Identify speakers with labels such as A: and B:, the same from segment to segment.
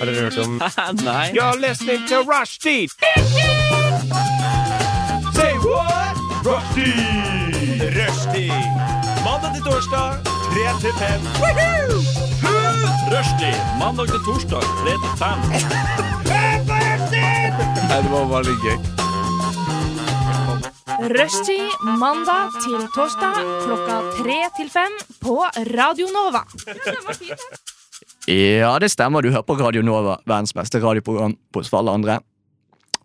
A: Har dere hørt om
B: Nei.
A: You're listening to Rushdie! Say what? Rushdie! Rushdie! Mandag til torsdag, 3 til 5.
B: Rushdie. Mandag til torsdag, 3 til 5.
C: Nei, det var bare litt gøy.
D: Rushtid mandag til torsdag klokka tre til fem på Radio Nova.
C: Ja, det stemmer. Du hører på Radio Nova, verdens beste radioprogram på for alle andre.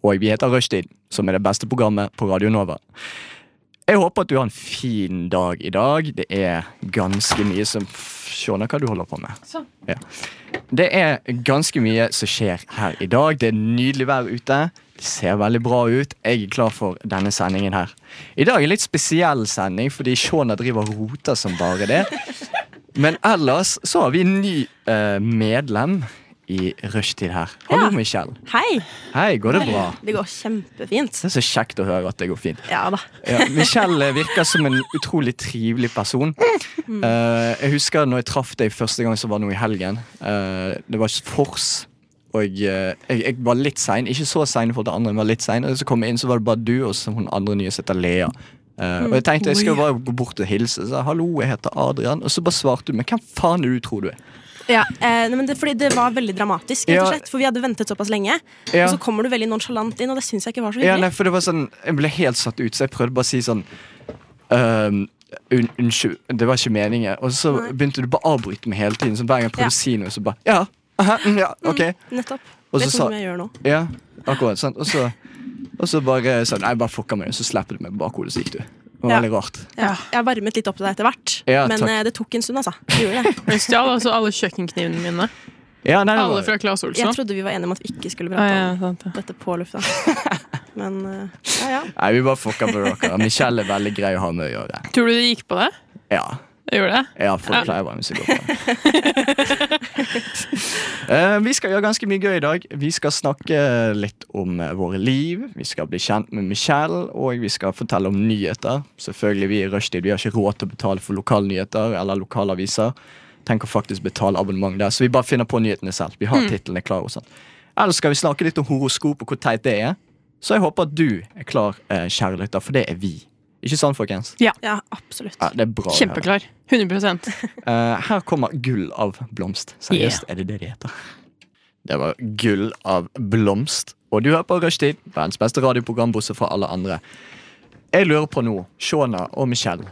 C: Og vi heter Rushtid, som er det beste programmet på Radio Nova. Jeg håper at du har en fin dag i dag. Det er ganske mye som Skjønner hva du holder på med.
D: Sånn.
C: Ja. Det er ganske mye som skjer her i dag. Det er nydelig vær ute. Det ser veldig bra ut. Jeg er klar for denne sendingen her. I dag er en litt spesiell sending, fordi Shona driver og roter som bare det. Men ellers så har vi en ny eh, medlem i Rushtid her. Hallo,
E: Ja.
C: Michelle.
E: Hei!
C: Hei, går det bra?
E: Det går kjempefint.
C: Det er så kjekt å høre at det går fint.
E: Ja da.
C: Ja, Michelle eh, virker som en utrolig trivelig person. Eh, jeg husker når jeg traff deg første gang, så var det noe i helgen. Eh, det var fors. Og eh, jeg, jeg var litt sein. Ikke så sein, for det andre, men litt sein. Og så kom jeg inn, så var det bare du og så hun andre nye som heter Lea. Eh, og jeg tenkte jeg skal bare gå bort og hilse. Så, jeg, Hallo, jeg heter Adrian. Og så bare svarte du. Men hvem faen er du, tror du? er?»
E: Ja, eh, nei, men det, fordi det var veldig dramatisk, rett
C: Ja.
E: og slett, for vi hadde ventet såpass lenge.
C: Ja.
E: Og så kommer du veldig nonsjalant inn, og det syns jeg ikke var så
C: Ja,
E: hyggelig.
C: nei, for det var sånn Jeg ble helt satt ut, så jeg prøvde bare å si sånn ehm, un, Unnskyld, det var ikke meningen. Og så begynte du bare å avbryte meg hele tiden. Så hver gang jeg prøvde
E: Ja.
C: å si noe, så bare Ja, aha, mm, ja ok.
E: Nettopp.
C: Og så
E: Vet
C: sa-
E: du som jeg gjør nå?
C: Ja, akkurat. Sant? Og så, og så bare sånn Nei, bare fucka meg, så slapp du meg på bakhodet, så gikk du. Det var
E: Ja.
C: veldig rart.
E: Ja. Jeg har varmet litt opp til deg etter hvert,
C: Ja,
E: men
C: takk.
E: eh, det tok en stund, altså. Det gjorde det.
F: Hun stjal altså alle kjøkkenknivene mine.
C: Ja, nei, det
F: Alle
C: var,
F: fra Claes Olsson.
E: Jeg
C: sånn?
E: trodde vi var enige om at vi ikke skulle
F: Ja,
E: prate
F: ja,
E: om
F: sant det.
E: dette på lufta. Men eh, ja, ja.
C: nei, vi bare fucka med dere. Michelle er veldig grei å ha med å gjøre.
F: Tror du det gikk på det?
C: Ja.
F: Det gjorde det?
C: Ja, folk
F: Ja.
C: pleier å være med seg opp. Eh, vi skal gjøre ganske mye gøy i dag. Vi skal snakke litt om eh, våre liv. Vi skal bli kjent med Michelle, og vi skal fortelle om nyheter. Selvfølgelig, vi i rushtid Vi har ikke råd til å betale for lokalnyheter eller lokalaviser. Tenk å faktisk betale abonnement der, så vi bare finner på nyhetene selv. Vi har
F: Mm.
C: titlene klare og sånn. Ellers skal vi snakke litt om horoskop og hvor teit det er. Så jeg håper at du er klar, eh, kjære lytter, for det er vi. Ikke sant, folkens?
E: ja absolutt.
C: Ja, det er bra. å høre.
F: Kjempeklar. 100
C: Eh, her kommer Gull av blomst. Seriøst, er det det det heter? Det var Gull av blomst. Og du hører på Rushtid, verdens beste radioprogram bortsett fra alle andre. Jeg lurer på nå, Shona og Michelle,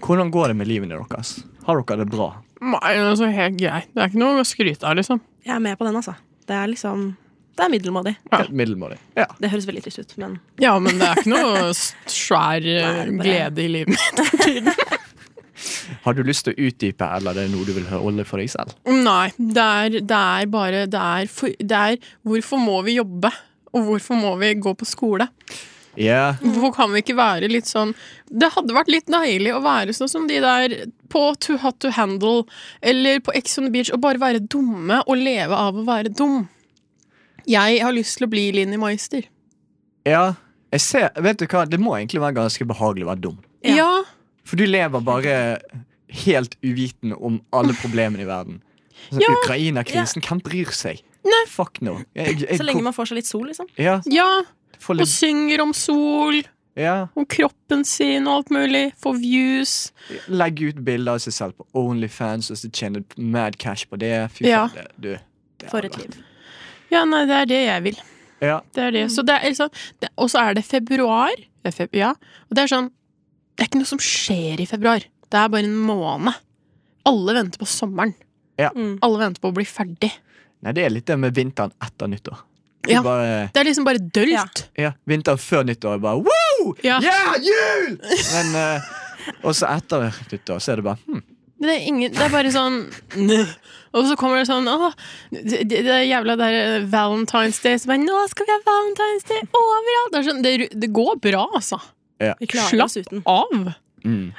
C: hvordan går det med livene deres? Har dere det bra?
F: Nei, det er så helt greit. Det er ikke noe å skryte av, liksom.
E: Jeg er med på den, altså. Det er liksom Det er middelmådig.
F: Ja.
C: Helt Middelmådig. Ja.
E: Det høres veldig trist ut, men
F: Ja, men det er ikke noe s- svær eh,
E: Nei, bare-
F: glede i livet mitt.
C: Har du lyst til å utdype, eller er det noe du vil holde for deg selv?
F: Nei, det er, det er bare det er, for, det er Hvorfor må vi jobbe? Og hvorfor må vi gå på skole?
C: Ja,
F: Hvorfor kan vi ikke være litt sånn Det hadde vært litt deilig å være sånn som de der på Too Hot To Handle eller på Ex on the Beach og bare være dumme og leve av å være dum. Jeg har lyst til å bli Linni Meister.
C: ja. Jeg ser, vet du hva, det må egentlig være ganske behagelig å være dum.
E: Ja.
F: Ja.
C: For du lever bare helt uviten om alle problemene i verden. Sånn,
F: Ja.
C: Ukraina-krisen, hvem bryr seg? Fuck no. Jeg, jeg,
E: så lenge man får seg litt sol, liksom.
C: ja,
F: ja.
C: får
F: Og
C: litt,
F: synger om sol,
C: ja,
F: om kroppen sin og alt mulig. Får views.
C: Legg ut bilder av seg selv på Onlyfans og så tjener mad cash på det. Fy
F: Ja.
C: faen, det- du. det er
E: For et
C: bra.
E: liv.
F: Ja, nei, det er det jeg vil.
C: Ja.
F: Det er det. Så det er, liksom- det, og så er det februar. Det er feb, ja. Og det er sånn Det er ikke noe som skjer i februar. Det er bare en måned. Alle venter på sommeren.
C: Ja.
E: Mm.
F: Alle venter på å bli ferdig.
C: Nei, det er litt det med vinteren etter nyttår. Du
F: Ja.
C: Bare,
F: Det er liksom bare dølt.
C: ja, vinteren før nyttår er bare wow! Ja,
F: Ja.
C: jul! Men eh, Og så etter nyttår så er det bare hm,
F: Men Det, er ingen, det er bare sånn Og så kommer det sånn Åh, det, det det er jævla der Valentine's Day. Så bare, Nå skal vi ha Valentine's Day overalt! Det, er sånn, det, det går bra, altså.
C: ja.
E: Vi klarer
F: Slapp
E: oss uten.
F: Av.
C: mm.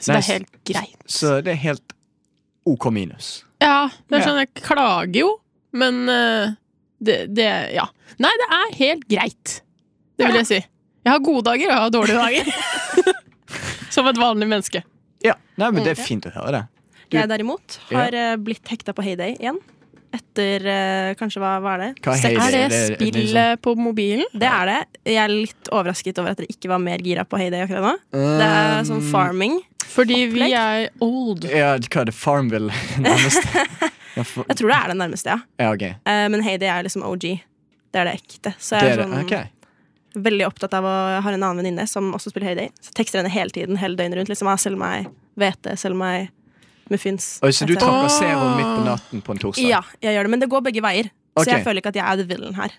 F: Så det
C: Nei,
F: er helt greit.
C: Så det er helt OK minus.
F: Ja, det er
C: Ja.
F: sånn, jeg klager jo, men eh, det, det Ja. Nei, det er helt greit. Det vil jeg si. Jeg har gode dager, og jeg har dårlige dager. Som et vanlig menneske.
E: Mm.
C: Ja, Nei, men Det er fint å høre det. Du-
E: Jeg derimot har eh, blitt hekta på Heyday igjen. etter eh, kanskje hva, hva er det?
C: Hva
E: Seks-
C: Heyday?
F: Er det
C: det er- det er
F: spillet på mobilen?
E: Det er det. Jeg er litt overrasket over at dere ikke var mer gira på Heyday akkurat nå. Det
C: Um,
E: er sånn farming.
F: Fordi vi er old.
C: Ja, hva er det? Farmville, nærmest. Ja, for-
E: Jeg tror det er det nærmeste, ja.
C: ja, ok.
E: Eh, Men Heyday er liksom OG. Det er det ekte. Så
C: Det
E: jeg
C: er
E: er
C: det.
E: sånn,
C: Ok.
E: veldig opptatt av å Jeg har en annen venninne som også spiller Heyday. Så jeg tekster henne hele tiden, hele døgnet rundt. Liksom, «Ah, Selg meg hvete, selg meg muffins.
C: Oi, så du
E: etc.
C: trakasserer henne midt på natten på en torsdag?
E: Ja, jeg gjør det, men det går begge veier.
C: Ok.
E: Så jeg føler ikke at jeg er the villain her.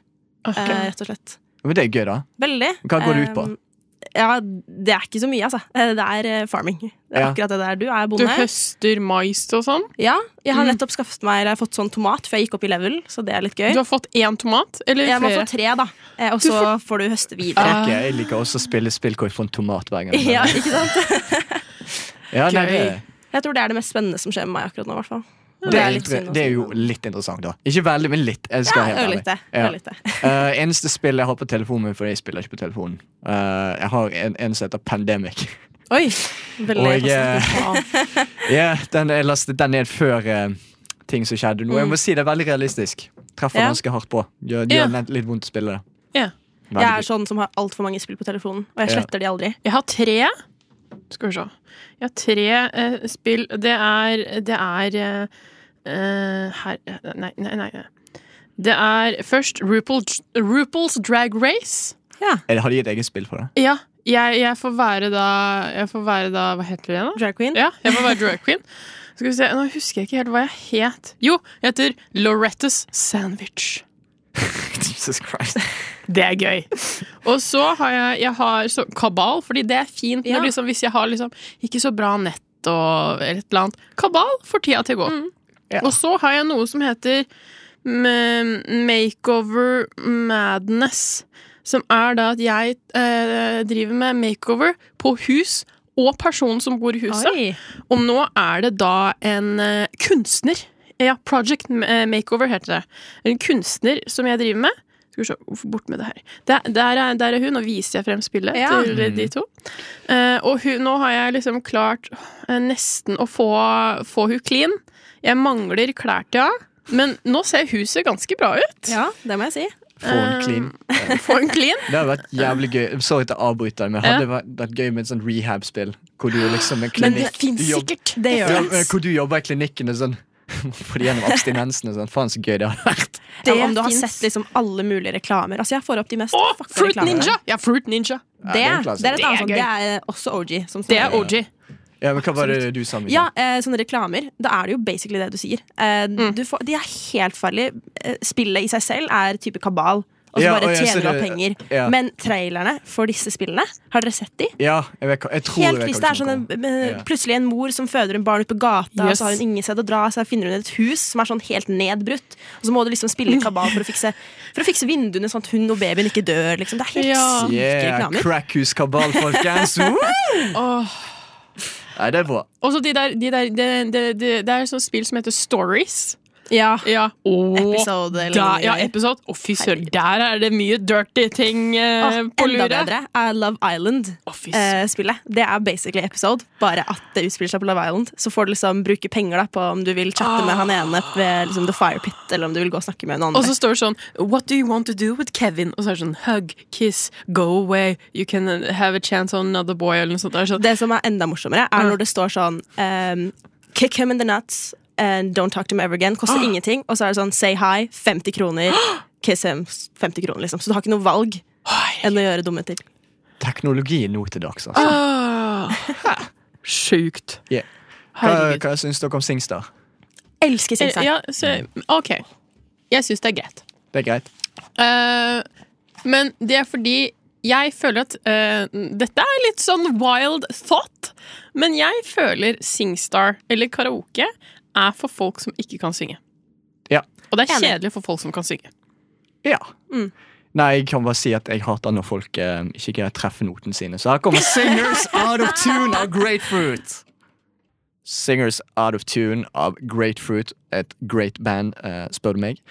F: Ok.
E: eh, rett og slett.
C: Men det er gøy, da.
E: Veldig.
C: Hva går det ut på?
E: Um, ja, Det er ikke så mye, altså. Eh, Det er eh, farming. Det er
C: Ja.
E: akkurat det der. Du er
F: Du
E: bonde.
F: høster mais og sånn.
E: Ja, jeg har nettopp skaffet meg Eller jeg har fått sånn tomat, for jeg gikk opp i level, så det er litt gøy.
F: Du har fått én tomat, eller
E: Jeg må
F: flere?
E: få tre, da. Eh, Og
F: Du
E: så får du høste videre.
F: Ah.
C: Ok, jeg liker også å spille spill hvor jeg får en tomat hver gang.
E: Ja, ikke sant?
C: Ja, nei, det,
F: Gøy.
E: Jeg tror det er det mest spennende som skjer med meg akkurat nå. i hvert fall.
C: det,
E: Det
C: er
E: er litt
C: inter-
E: synd å
C: det er
E: si,
C: jo
E: men-
C: litt interessant, da. Ikke veldig, men litt. Jeg skal
E: Ja,
C: være helt
E: ørlite.
C: ærlig. Ja.
E: ørlite.
C: Eh, eneste spill jeg har på telefonen min, for jeg spiller ikke på telefonen. Eh, jeg har en, en som heter Pandemic.
E: Oi! Veldig
C: Og jeg, eh,
E: passende.
C: Ja, den er lastet den ned før eh, ting som skjedde nå. Jeg må si det er veldig realistisk. Treffer
E: Ja.
C: ganske hardt på. Gjør, gjør
F: Ja.
C: nett litt vondt å spille det.
F: Ja.
C: Veldig
E: Jeg er
C: gøy.
E: sånn som har altfor mange spill på telefonen, og jeg
C: Ja.
E: sletter de aldri.
F: Jeg har tre. Skal vi se. Jeg har tre eh, spill. Det er Det er eh, eh, Her Nei, nei, nei. nei. Det er først RuPaul, RuPaul's Drag Race.
C: Eller Har de et eget spill for det?
F: Ja. Jeg, jeg får være da Jeg får være da Hva heter det igjen, da?
E: Drag queen.
F: Ja, jeg får være drag queen. Skal vi se, Nå husker jeg ikke helt hva jeg het. Jo, jeg heter Lorettes Sandwich.
C: Jesus Christ.
F: Det er gøy. Og så har jeg, jeg har så, kabal, fordi det er fint når
E: Ja.
F: liksom, hvis jeg har liksom, ikke så bra nett og eller et eller annet. Kabal får tida til å gå.
C: Ja.
F: Og så har jeg noe som heter mm, Makeover Madness. Som er da at jeg eh, driver med makeover på hus og personen som bor i huset.
E: Oi.
F: Og nå er det da en eh, kunstner. Ja, Project eh, Makeover heter det. En kunstner som jeg driver med. Skal vi se, hvorfor bort med det her. Der, der, er, der er hun, og viser jeg frem spillet
E: Ja.
F: til de
C: Mhm.
F: to. Eh, og hun, nå har jeg liksom klart eh, nesten å få, få hun clean. Jeg mangler klær til henne. Men nå ser huset ganske bra ut. Eh,
E: Ja, det må jeg si.
C: Få en clean.
F: Få hun clean.
C: Det hadde vært jævlig gøy. Sorry at jeg avbryter, deg, men
F: Ja.
C: hadde det vært- vært gøy med et sånn rehab-spill. Hvor du er liksom en
F: Men det
C: klinikk
F: fins
C: du jobb-
F: sikkert.
E: Det gjør
C: ja,
E: det.
C: men Hvor du jobber i klinikken og sånn. Får de gjennom abstinensen og sånn. Faen, så gøy det hadde vært.
E: Ja, men om du har
F: finnes.
E: sett liksom alle mulige reklamer. Altså, jeg får opp de mest
F: Å,
E: fucka
F: Fruit
E: reklamene.
F: Ninja! Ja, Fruit Ninja.
C: Ja,
E: Det,
C: det er en
E: det,
C: klassiker.
E: er
F: Det
E: et annet
F: er
E: sånn. Det er eh, også OG. Som
F: Det er
E: snakker.
F: OG.
C: Ja, men Hva var det du sa? Mikael?
E: Ja, eh, sånne reklamer. Da er det jo basically det du sier. Eh,
C: Mm.
E: du får, de er helt farlige. Eh, Spillet i seg selv er type kabal. Og så
C: Ja,
E: bare
C: og jeg ser
E: tjener du opp
C: det-
E: penger.
C: ja.
E: Men trailerne for disse spillene, har dere sett de?
C: Ja, jeg, vet, hva- jeg tror
E: Helt
C: jeg vet hva
E: krise. Det
C: du
E: er sånn en,
C: snakker om.
E: eh,
C: Ja.
E: plutselig en mor som føder en barn ute på gata, og
F: Yes.
E: så har hun ingen sted å dra, så finner hun et hus som er sånn helt nedbrutt, og så må du liksom spille kabal for å fikse, for å fikse vinduene sånn at hun og babyen ikke dør, liksom. Det er helt
F: Ja.
E: syke
C: Yeah,
E: reklamer.
C: Crackhus-kabal, folkens! Woo!
F: Åh.
C: Nei, det er bra.
F: Og så de der, de der det, det, det, det er et sånt spill som heter Stories.
E: Ja.
F: Ja.
E: Episode eller
F: da,
E: noe
F: ja,
E: greier.
F: episode. Å, fy søren, der er det mye dirty ting
E: Åh,
F: eh, på
E: Ah, enda
F: lure.
E: bedre er Love
F: Å, fy søren.
E: Island-spillet. det er basically episode, bare at det utspiller seg på Love Island. Så får du liksom bruke penger da, på om du vil chatte med han ene ved liksom, The Fire Pit, eller om du vil gå og snakke med
F: Og
E: en annen.
F: så står det sånn What do you want to do with Kevin? Og så er det sånn Hug, kiss, go away, you can uh, have a chance on another boy, eller noe sånt. Det er sånn,
E: Det som er enda morsommere, er når det står sånn ehm, Kick him in the nuts and don't talk to him ever again.
F: Ah.
E: Koster ingenting. Og så er det sånn say hi, 50 kroner. Kiss him, 50 kroner, liksom. Så du har ikke noe valg enn å gjøre dumme ting.
C: Teknologi nå til dags,
F: Ah,
C: altså.
F: «Åh, Sjukt.
C: Yeah. Hva,
F: Herregud.
C: hva syns dere om Singstar?
E: Elsker Singsang.
F: Ja, så, OK. Jeg syns det er greit.
C: Det er greit.
F: Eh, men det er fordi jeg føler at eh, Dette er litt sånn wild thought, men jeg føler Singstar eller karaoke er for folk som ikke kan synge.
C: Ja.
F: Og det er
E: Enig.
F: kjedelig for folk som kan synge.
C: Ja.
F: Mm.
C: Nei, jeg kan bare si at jeg hater når folk eh, ikke greier å treffe notene sine. Så her kommer Singers Out of Tune av Grapefruit. Singers Out of Tune av Grapefruit, et great band, eh, spør du meg.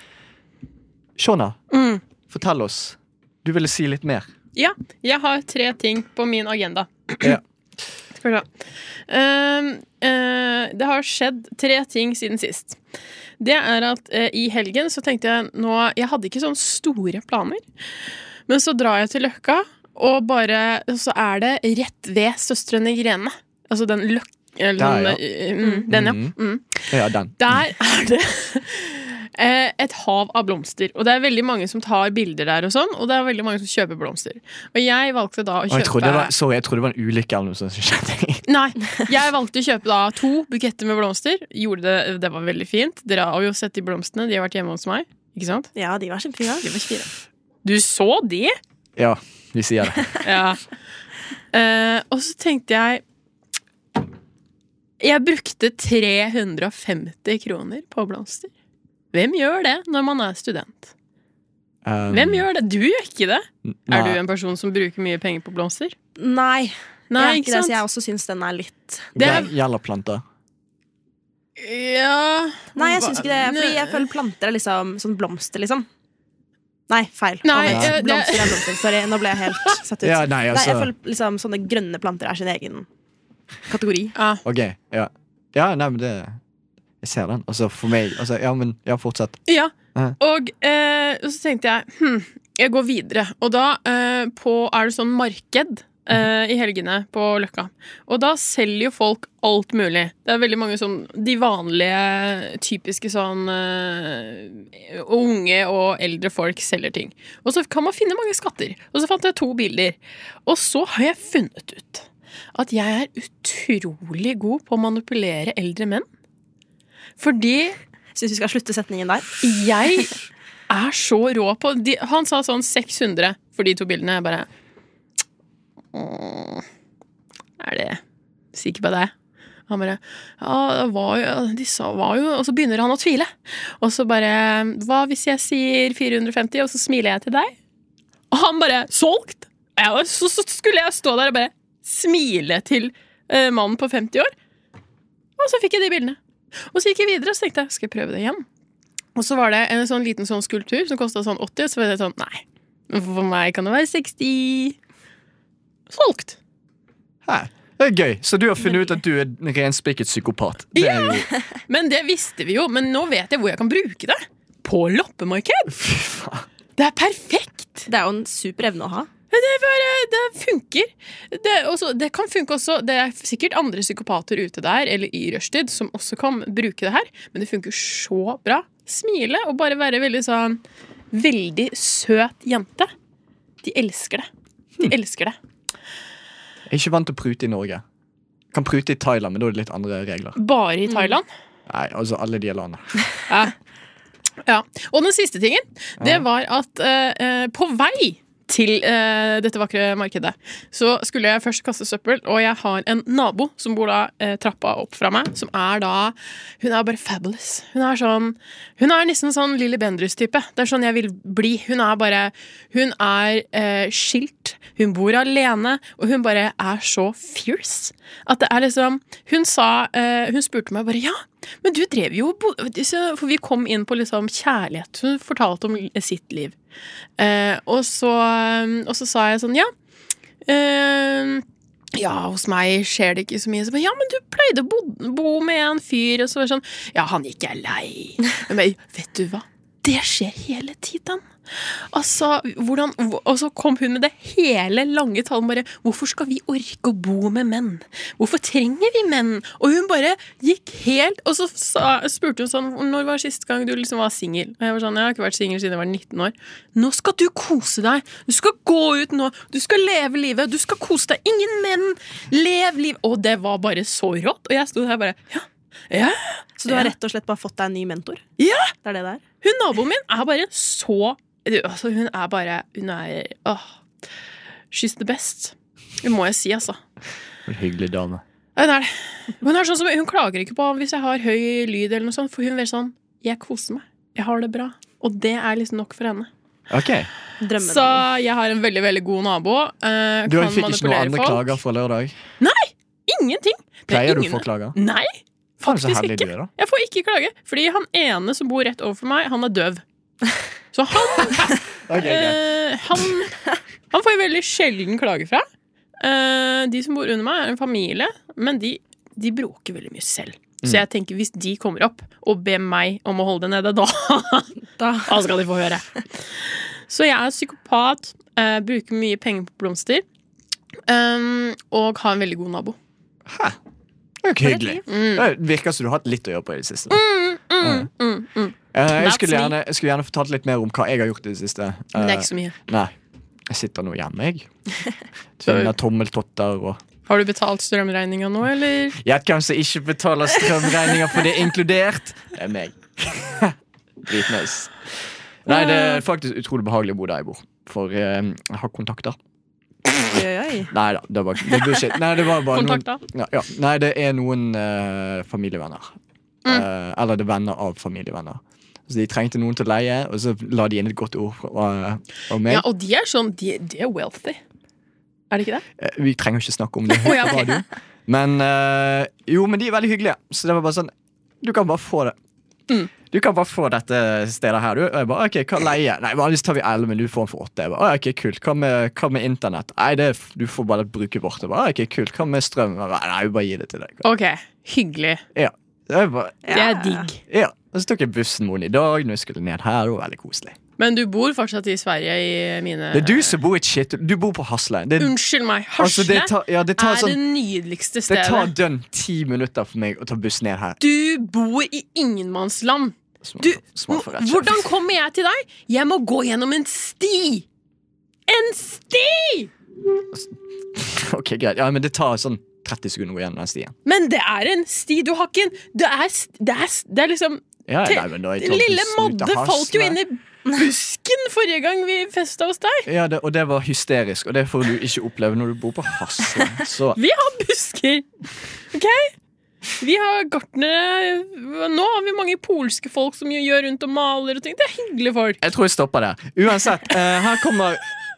C: Shona,
F: Mm.
C: fortell oss. Du ville si litt mer.
F: Ja, jeg har tre ting på min agenda.
C: Ja.
F: Skal vi se. Ehm, eh, det har skjedd tre ting siden sist. det er at eh, i helgen så tenkte jeg nå Jeg hadde ikke sånne store planer. Men så drar jeg til Løkka, og bare så er det rett ved Søstrene Grene. Altså den løk... Eller,
C: Der, ja.
F: den, Mm, den, ja.
C: Mhm.
F: Mm.
C: Ja, den.
F: Der er det eh, et hav av blomster. Og det er veldig mange som tar bilder der, og sånn Og det er veldig mange som kjøper blomster. Og jeg valgte da å
C: Og jeg
F: kjøpe
C: trodde, det var, sorry, jeg trodde det var en ulykke eller noe sånt som skjedde.
F: Nei, jeg valgte å kjøpe da to buketter med blomster. Gjorde det, det var veldig fint. Dere har jo sett de blomstene. De har vært hjemme hos meg. Ikke sant?
E: Ja, de var kjempefine.
F: De var fire. Du så de?
C: Ja, vi sier det.
F: Ja. Eh, og så tenkte jeg Jeg brukte 350 kroner på blomster. Hvem gjør det når man er student?
C: Um,
F: Hvem gjør det? Du gjør ikke det.
C: nei.
F: Er du en person som bruker mye penger på blomster?
E: Nei,
F: Nei,
E: jeg, er ikke
F: ikke
E: det, så jeg
F: sant?
E: også syns den er litt
F: det er-
C: Gjel- Gjelderplanter.
F: Ja
E: Nei, jeg syns ikke det. Fordi jeg
F: Nei.
E: føler planter er liksom sånn blomster, liksom. Nei, feil.
F: Nei,
E: Annet.
F: eh, det-
E: blomster er blomster. Sorry, nå ble jeg helt satt ut.
C: Ja, nei,
E: Nei, jeg
C: altså.
E: føler liksom sånne grønne planter er sin egen kategori.
F: Ja.
C: Ok, ja. Ja, nei, men det Jeg ser den. Altså, for meg altså, Ja, men ja, fortsett.
F: Ja.
C: Ja.
F: Og eh, og så tenkte jeg hm, jeg går videre. Og da eh, på, er det sånn marked eh, i helgene på Løkka. Og da selger jo folk alt mulig. Det er veldig mange sånn de vanlige, typiske sånn eh, Unge og eldre folk selger ting. Og så kan man finne mange skatter. Og så fant jeg to bilder. Og så har jeg funnet ut at jeg er utrolig god på å manipulere eldre menn. Fordi
E: Syns vi skal slutte setningen der.
F: jeg er så rå på de, Han sa sånn 600 for de to bildene. Jeg bare «Åh, Er det sikker på det? Han bare Ja, det var jo, de sa var jo Og så begynner han å tvile. Og så bare Hva hvis jeg sier 450, og så smiler jeg til deg? Og han bare Solgt! Og jeg var- Så, så skulle jeg stå der og bare smile til eh, mannen på 50 år. Og så fikk jeg de bildene. Og så gikk jeg videre og så tenkte jeg, skal jeg prøve det igjen. Og så var det en sånn liten sånn skulptur som kosta sånn 80, og så var det sånn Nei, men for meg kan det være 60. Solgt.
C: Hæ? Det er gøy. Så du har funnet ut at du er en renspikket psykopat. Det er jo
F: Men det visste vi jo. Men nå vet jeg hvor jeg kan bruke det. På loppemarked!
C: Fy faen.
F: Det er perfekt!
E: Det er jo en super evne å ha.
F: Det, er bare, det funker. Det, er også, det kan funke også Det er sikkert andre psykopater ute der eller i rushtid som også kan bruke det her, men det funker så bra. Smile og bare være veldig sånn Veldig søt jente. De elsker det.
C: Hm.
F: De elsker det.
C: Jeg er ikke vant til å prute i Norge. Kan prute i Thailand, men da er det litt andre regler.
F: Bare i Thailand.
C: Nei, altså alle de landene.
F: Ja. Og den siste tingen, det var at eh, eh, på vei til eh, dette vakre markedet, så skulle jeg først kaste søppel, og jeg har en nabo som bor da eh, trappa opp fra meg, som er da Hun er bare fabulous. Hun er sånn Hun er nesten sånn Lilly Bendriss-type. Det er sånn jeg vil bli. Hun er bare Hun er eh, skilt, hun bor alene, og hun bare er så fierce at det er liksom Hun sa eh, Hun spurte meg bare Ja, men du drev jo og bo- så- For vi kom inn på liksom kjærlighet. Hun fortalte om li- sitt liv. Eh, og, så, og så sa jeg sånn Ja. Eh, ja, hos meg skjer det ikke så mye. Så bare, ja, men du pleide å bo, bo med en fyr. Og så var det sånn Ja, han gikk jeg lei. Men vet du hva? Det skjer hele tiden. Altså, hvordan, og så kom hun med det hele lange talen bare Hvorfor skal vi orke å bo med menn? Hvorfor trenger vi menn? Og hun bare gikk helt Og så sa, spurte hun sånn Når var sist gang du liksom var singel? Og jeg var sånn, jeg har ikke vært singel siden jeg var 19 år. Nå skal du kose deg! Du skal gå ut nå! Du skal leve livet! Du skal kose deg! Ingen menn! Lev liv! Og det var bare så rått! Og jeg sto der bare Ja, ja,
E: Så du har
F: Ja.
E: rett og slett bare fått deg en ny mentor?
F: Ja!
E: Det er det der.
F: Hun naboen min er bare så du, altså, Hun er bare Hun er åh, She's the best. Det må jeg si, altså.
C: En hyggelig dame.
F: Hun er det. Hun, er sånn som, hun klager ikke på hvis jeg har høy lyd, eller noe sånt, for hun er sånn Jeg koser meg. Jeg har det bra. Og det er liksom nok for henne.
C: Ok,
E: Drømmen.
F: Så jeg har en veldig veldig god nabo. eh,
C: Du
F: kan
C: fikk ikke noen
F: manipulere
C: andre
F: folk.
C: klager fra lørdag?
F: Ingenting! Det er
C: Pleier du å
F: ingen-
C: få klager?
F: Nei,
C: Faen, så
F: faktisk
C: heldig
F: ikke.
C: du er, da.
F: Jeg får ikke klage, fordi han ene som bor rett overfor meg, han er døv. Så han,
C: Ok, greit.
F: eh, han, han får jeg veldig sjelden klage fra. Eh, de som bor under meg, er en familie, men de, de bråker veldig mye selv.
C: Mm.
F: Så jeg tenker hvis de kommer opp og ber meg om å holde det nede, da, da skal de få høre. Så jeg er psykopat, eh, bruker mye penger på blomster ehm, og har en veldig god nabo.
C: Hæ? Det er jo ikke hyggelig. Det virker som du har hatt litt å gjøre på i det siste.
F: Mm, mm.
C: Eh, jeg,
F: That's
C: skulle
F: me.
C: gjerne, jeg skulle gjerne fortalt litt mer om hva jeg har gjort i det siste.
F: Men det
C: Eh,
F: er ikke så mye.
C: Nei. Jeg sitter nå hjemme, jeg. Tvinner tommeltotter og
F: Har du betalt strømregninga nå, eller?
C: Gjett hvem som ikke betaler strømregninger for det er inkludert. Det er meg. Dritnice. Nei, det
F: Mm.
C: er faktisk utrolig behagelig å bo der jeg bor. For eh, jeg har kontakter.
E: Oi, oi, oi.
C: Nei da, det var, det er bullshit. Nei, det var bare noen,
F: Kontakta?
C: ja, ja. Nei, det er noen eh, familievenner. Eh, eller det er venner av familievenner. Så De trengte noen til å leie, og så la de inn et godt ord fra- eh, om meg.
F: Ja, og de er sånn De, de er wealthy. Er det ikke det?
C: Eh, Vi trenger ikke snakke om det
F: Å, ja,
C: på
F: ok.
C: radio. Men eh, jo, men de er veldig hyggelige. Så det var bare sånn Du kan bare få det.
F: Mm.
C: Du kan bare få dette stedet her, du. Og jeg bare, ok, hva leie? Nei, vanligvis tar vi 11, men du får den for 8. Jeg bare, «Å, ok, kult. Hva med, hva med internett? Nei, det, er f- du får bare bruke vårt. Jeg bare, «Å, ok, kult. Hva med strøm? Jeg bare, Nei, vi bare gir det til deg.
F: Ok, hyggelig.
C: Ja. Jeg bare,
F: Det er digg.
C: ja. Og så tok jeg bussen mot i dag når jeg skulle ned her. Det var veldig koselig.
F: Men du bor fortsatt i Sverige i mine
C: Det er du som bor i et shit. Du bor på Hasle. Det,
F: Unnskyld meg.
C: altså,
F: Hasle
C: det tar, ja, det tar
F: er
C: sånn
F: det nydeligste
C: det
F: stedet.
C: tar dønn ti minutter for meg å ta buss ned her.
F: Du bor i ingenmannsland.
C: Små-
F: Du,
C: små forretninger.
F: hvordan kommer jeg til deg? Jeg må gå gjennom en sti! En sti!
C: Ok, greit. Ja, men det tar sånn 30 sekunder å gå gjennom den stien.
F: Men det er en sti. Du har ikke en Det er, s- det er, s- det er liksom
C: Ja,
F: Te-
C: nei, men da jeg tar
F: Lille
C: bussen ut av
F: Madde falt jo
C: Hasle.
F: inn i busken forrige gang vi festa hos deg.
C: Ja, det, og det var hysterisk, og det får du ikke oppleve når du bor på Hasle. Så
F: Vi har busker! OK? Vi har gartnere Nå har vi mange polske folk som jo gjør rundt og maler og ting. Det er hyggelige folk.
C: jeg tror jeg stopper der. Uansett, eh, her kommer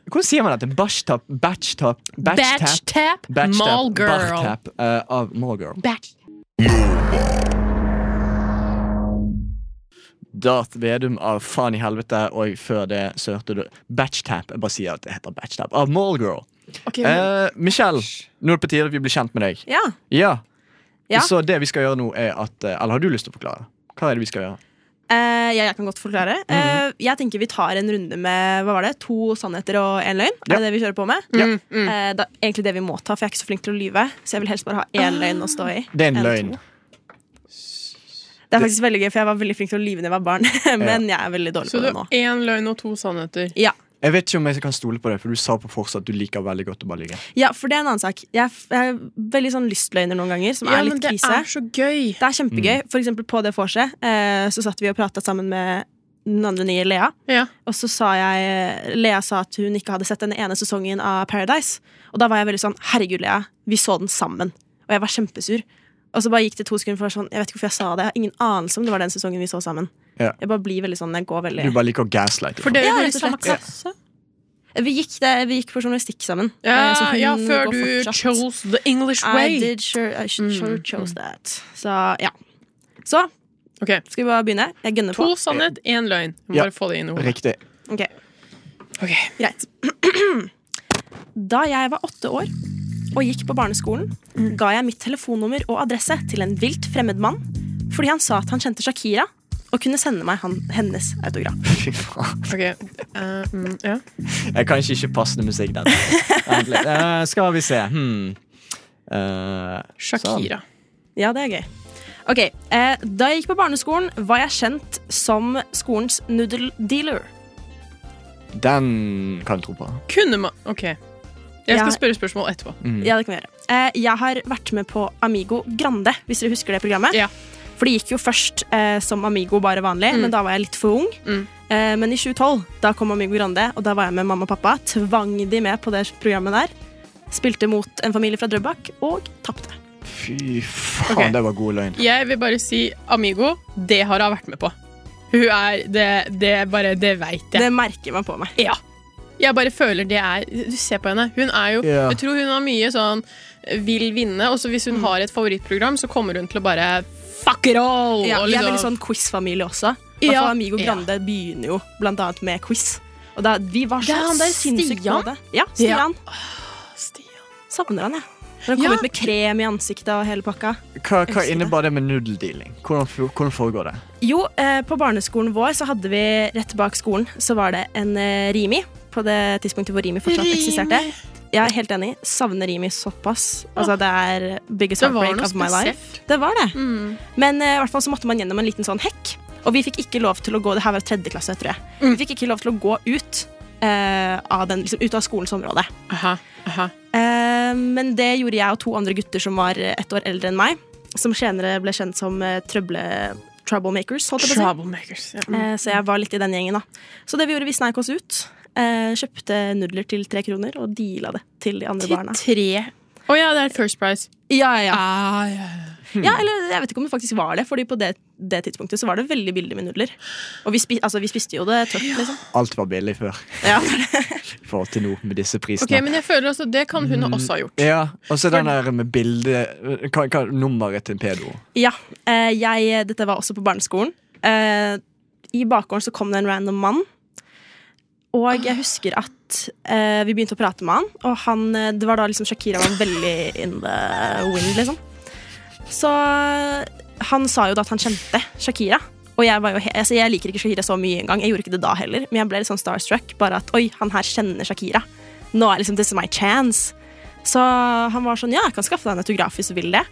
C: Hvordan sier man dette? Batchtap? Batchtap?
F: Batch tap, mall girl.
C: Bartap eh, av Mallgirl.
F: Batch.
C: Darth Vedum av Faen i helvete, og før det så hørte du Batchtap. Jeg bare sier at det heter Batchtap. Av Mallgirl.
F: Ok, men-
C: Eh, Michelle, nå er det på tide at vi blir kjent med deg.
E: Ja.
C: Ja.
E: Ja.
C: Så det vi skal gjøre nå, er at eh, Eller har du lyst til å forklare? Hva er det vi skal gjøre?
E: Eh, ja, jeg kan godt forklare.
C: Mhm.
E: Eh, jeg tenker vi tar en runde med hva var det? to sannheter og én løgn.
C: Ja.
E: Er det det vi kjører på med?
C: Ja.
F: Mm,
E: Eh, det er egentlig det vi må ta, for jeg er ikke så flink til å lyve. Så jeg vil helst bare ha én
F: Ah.
E: løgn å stå i.
C: Det er en
E: Eller
C: løgn.
E: to. Det er faktisk veldig gøy, for jeg var veldig flink til å lyve da jeg var barn. Men jeg er veldig
F: Så
E: dårlig på
F: du
E: det
F: har
E: nå.
F: én løgn og to sannheter.
E: Ja.
C: Jeg vet ikke om jeg kan stole på det, for du sa på fortsatt at du liker veldig godt å bare ligge.
E: ja, for det er en annen sak. Jeg er, f- jeg er veldig sånn lystløgner noen ganger, som
F: Ja,
E: er
F: men
E: litt
F: det
E: krise.
F: er så gøy.
E: Det er kjempegøy.
C: Mm.
E: For eksempel på det vorset eh, så satt vi og prata sammen med den andre nye Lea.
F: Ja.
E: Og så sa jeg Lea sa at hun ikke hadde sett den ene sesongen av Paradise. Og da var jeg veldig sånn Herregud, Lea, vi så den sammen. Og jeg var kjempesur. Og så bare gikk det to sekunder, for jeg var sånn, jeg vet ikke hvorfor jeg sa det. Jeg har ingen anelse om det var den sesongen vi så sammen.
C: Ja.
E: Jeg bare blir veldig sånn, jeg går veldig
C: Du bare liker å gaslighte.
F: For dere
E: Ja,
F: går i
E: rett og
F: samme
E: slett.
F: klasse.
E: vi, gikk det, vi gikk for journalistikk sammen. eh, så
F: Ja,
E: hun
F: ja,
E: går
F: før du
E: fortsatt.
F: chose the English
E: I
F: way. Mm.
E: did sure, I should sure chose that. Så ja. Så
F: Ok,
E: skal vi bare begynne. Jeg gønner på.
F: To sannhet, én løgn. Du må
C: Ja.
F: Bare få det inn i hodet.
C: Riktig.
E: Ok,
F: Ok.
E: Greit. Da jeg var åtte år og gikk på barneskolen, ga jeg mitt telefonnummer og adresse til en vilt fremmed mann fordi han sa at han kjente Shakira og kunne sende meg han, hennes autograf.
C: Fy faen.
F: ok. Eh, mm, ja.
C: Jeg kan ikke ikke passende musikk der. Egentlig. Eh, skal vi se. Hmm. Eh,
F: Shakira.
E: Ja, det er gøy. Ok, eh, Da jeg gikk på barneskolen, var jeg kjent som skolens noodle-dealer.
C: sånn. Den kan jeg tro på.
F: Kunne man Ok. Jeg
E: Ja.
F: skal spørre spørsmål etterpå.
E: Ja, det kan vi gjøre. Eh, jeg har vært med på Amigo Grande, hvis dere husker det programmet.
F: Ja.
E: For det gikk jo først eh, som Amigo bare vanlig, men da var jeg litt for ung.
F: Mm.
E: Eh, men i 2012 da kom Amigo Grande, og da var jeg med mamma og pappa. Tvang de med på det programmet der. Spilte mot en familie fra Drøbak og tapte.
C: Fy faen,
F: Ok.
C: det var god løgn.
F: Jeg vil bare si Amigo, det har hun vært med på. Hun er Det, det er bare Det veit jeg.
E: Det merker man på meg.
F: Ja. Jeg bare føler det er Du ser på henne. Hun er jo
C: Ja.
F: Jeg tror hun har mye sånn eh, vil vinne, og så hvis
E: Mm.
F: hun har et favorittprogram, så kommer hun til å bare fuck it all!
E: Ja,
F: og
E: vi er
F: liksom-
E: veldig sånn quiz-familie også. Ja.
F: Ja.
E: Amigo
F: Ja.
E: Grande begynner jo blant annet med quiz. Og da, vi var
F: Det
E: så
F: er han der
E: sinnssykt på
F: Stian?
E: det. Ja, Stian.
F: Stian.
E: Savner han, jeg. Når han kom
F: Ja.
E: ut med krem i ansiktet og hele pakka.
C: Hva, hva
E: Elsker det.
C: innebar det med nudeldealing? Hvordan, fo- hvordan foregår det?
E: Jo, eh, på barneskolen vår så hadde vi rett bak skolen så var det en eh, Rimi. På det tidspunktet hvor Rimi fortsatt eksisterte. Jeg er helt enig. Savner Rimi såpass. Altså, det er biggest
F: Det var
E: heartbreak
F: noe
E: of my life.
F: spesielt.
E: Det var det.
F: Mm.
E: Men eh, i hvert fall så måtte man gjennom en liten sånn hekk. Og vi fikk ikke lov til å gå det her var tredje klasse, tror jeg.
F: Mm.
E: Vi fikk ikke lov til å gå ut, eh, av, den, liksom, ut av skolens område.
F: Aha, aha.
E: Eh, men det gjorde jeg og to andre gutter som var eh, ett år eldre enn meg. Som senere ble kjent som eh, trøble... Troublemakers, holdt jeg på å si.
F: Troublemakers. Ja.
E: Eh, Så jeg var litt i den gjengen, da. Så det vi gjorde, vi sneik oss ut. eh, Kjøpte nudler til tre kroner og deala det til de andre barna.
F: tre Å ja, det er First Price.
E: Ja, ja, ja.
F: Ah, ja, ja.
E: ja, eller jeg vet ikke om det faktisk var det, Fordi på det, det tidspunktet så var det veldig billig med nudler. Og vi, spi, altså, vi spiste jo det tørt, liksom.
C: Alt var billig før
E: Ja.
C: i forhold til nå med disse prisene.
F: Ok, Men jeg føler altså, det kan hun
E: Mm.
F: også ha gjort.
C: Ja, Og så den der med bilde hva, hva, Nummeret til en pedo.
E: Ja, eh, jeg, Dette var også på barneskolen. Eh, I bakgården så kom det en random mann. Og jeg husker at eh, vi begynte å prate med han, og han, eh, det var da liksom Shakira var veldig in the wind, liksom. Så eh, han sa jo da at han kjente Shakira. Og jeg, var jo he altså, jeg liker ikke Shakira så mye engang. Jeg gjorde ikke det da heller, men jeg ble litt sånn starstruck. Bare at oi, han her kjenner Shakira. Nå er liksom this is my chance. Så han var sånn ja, jeg kan skaffe deg en autograf hvis du vil det.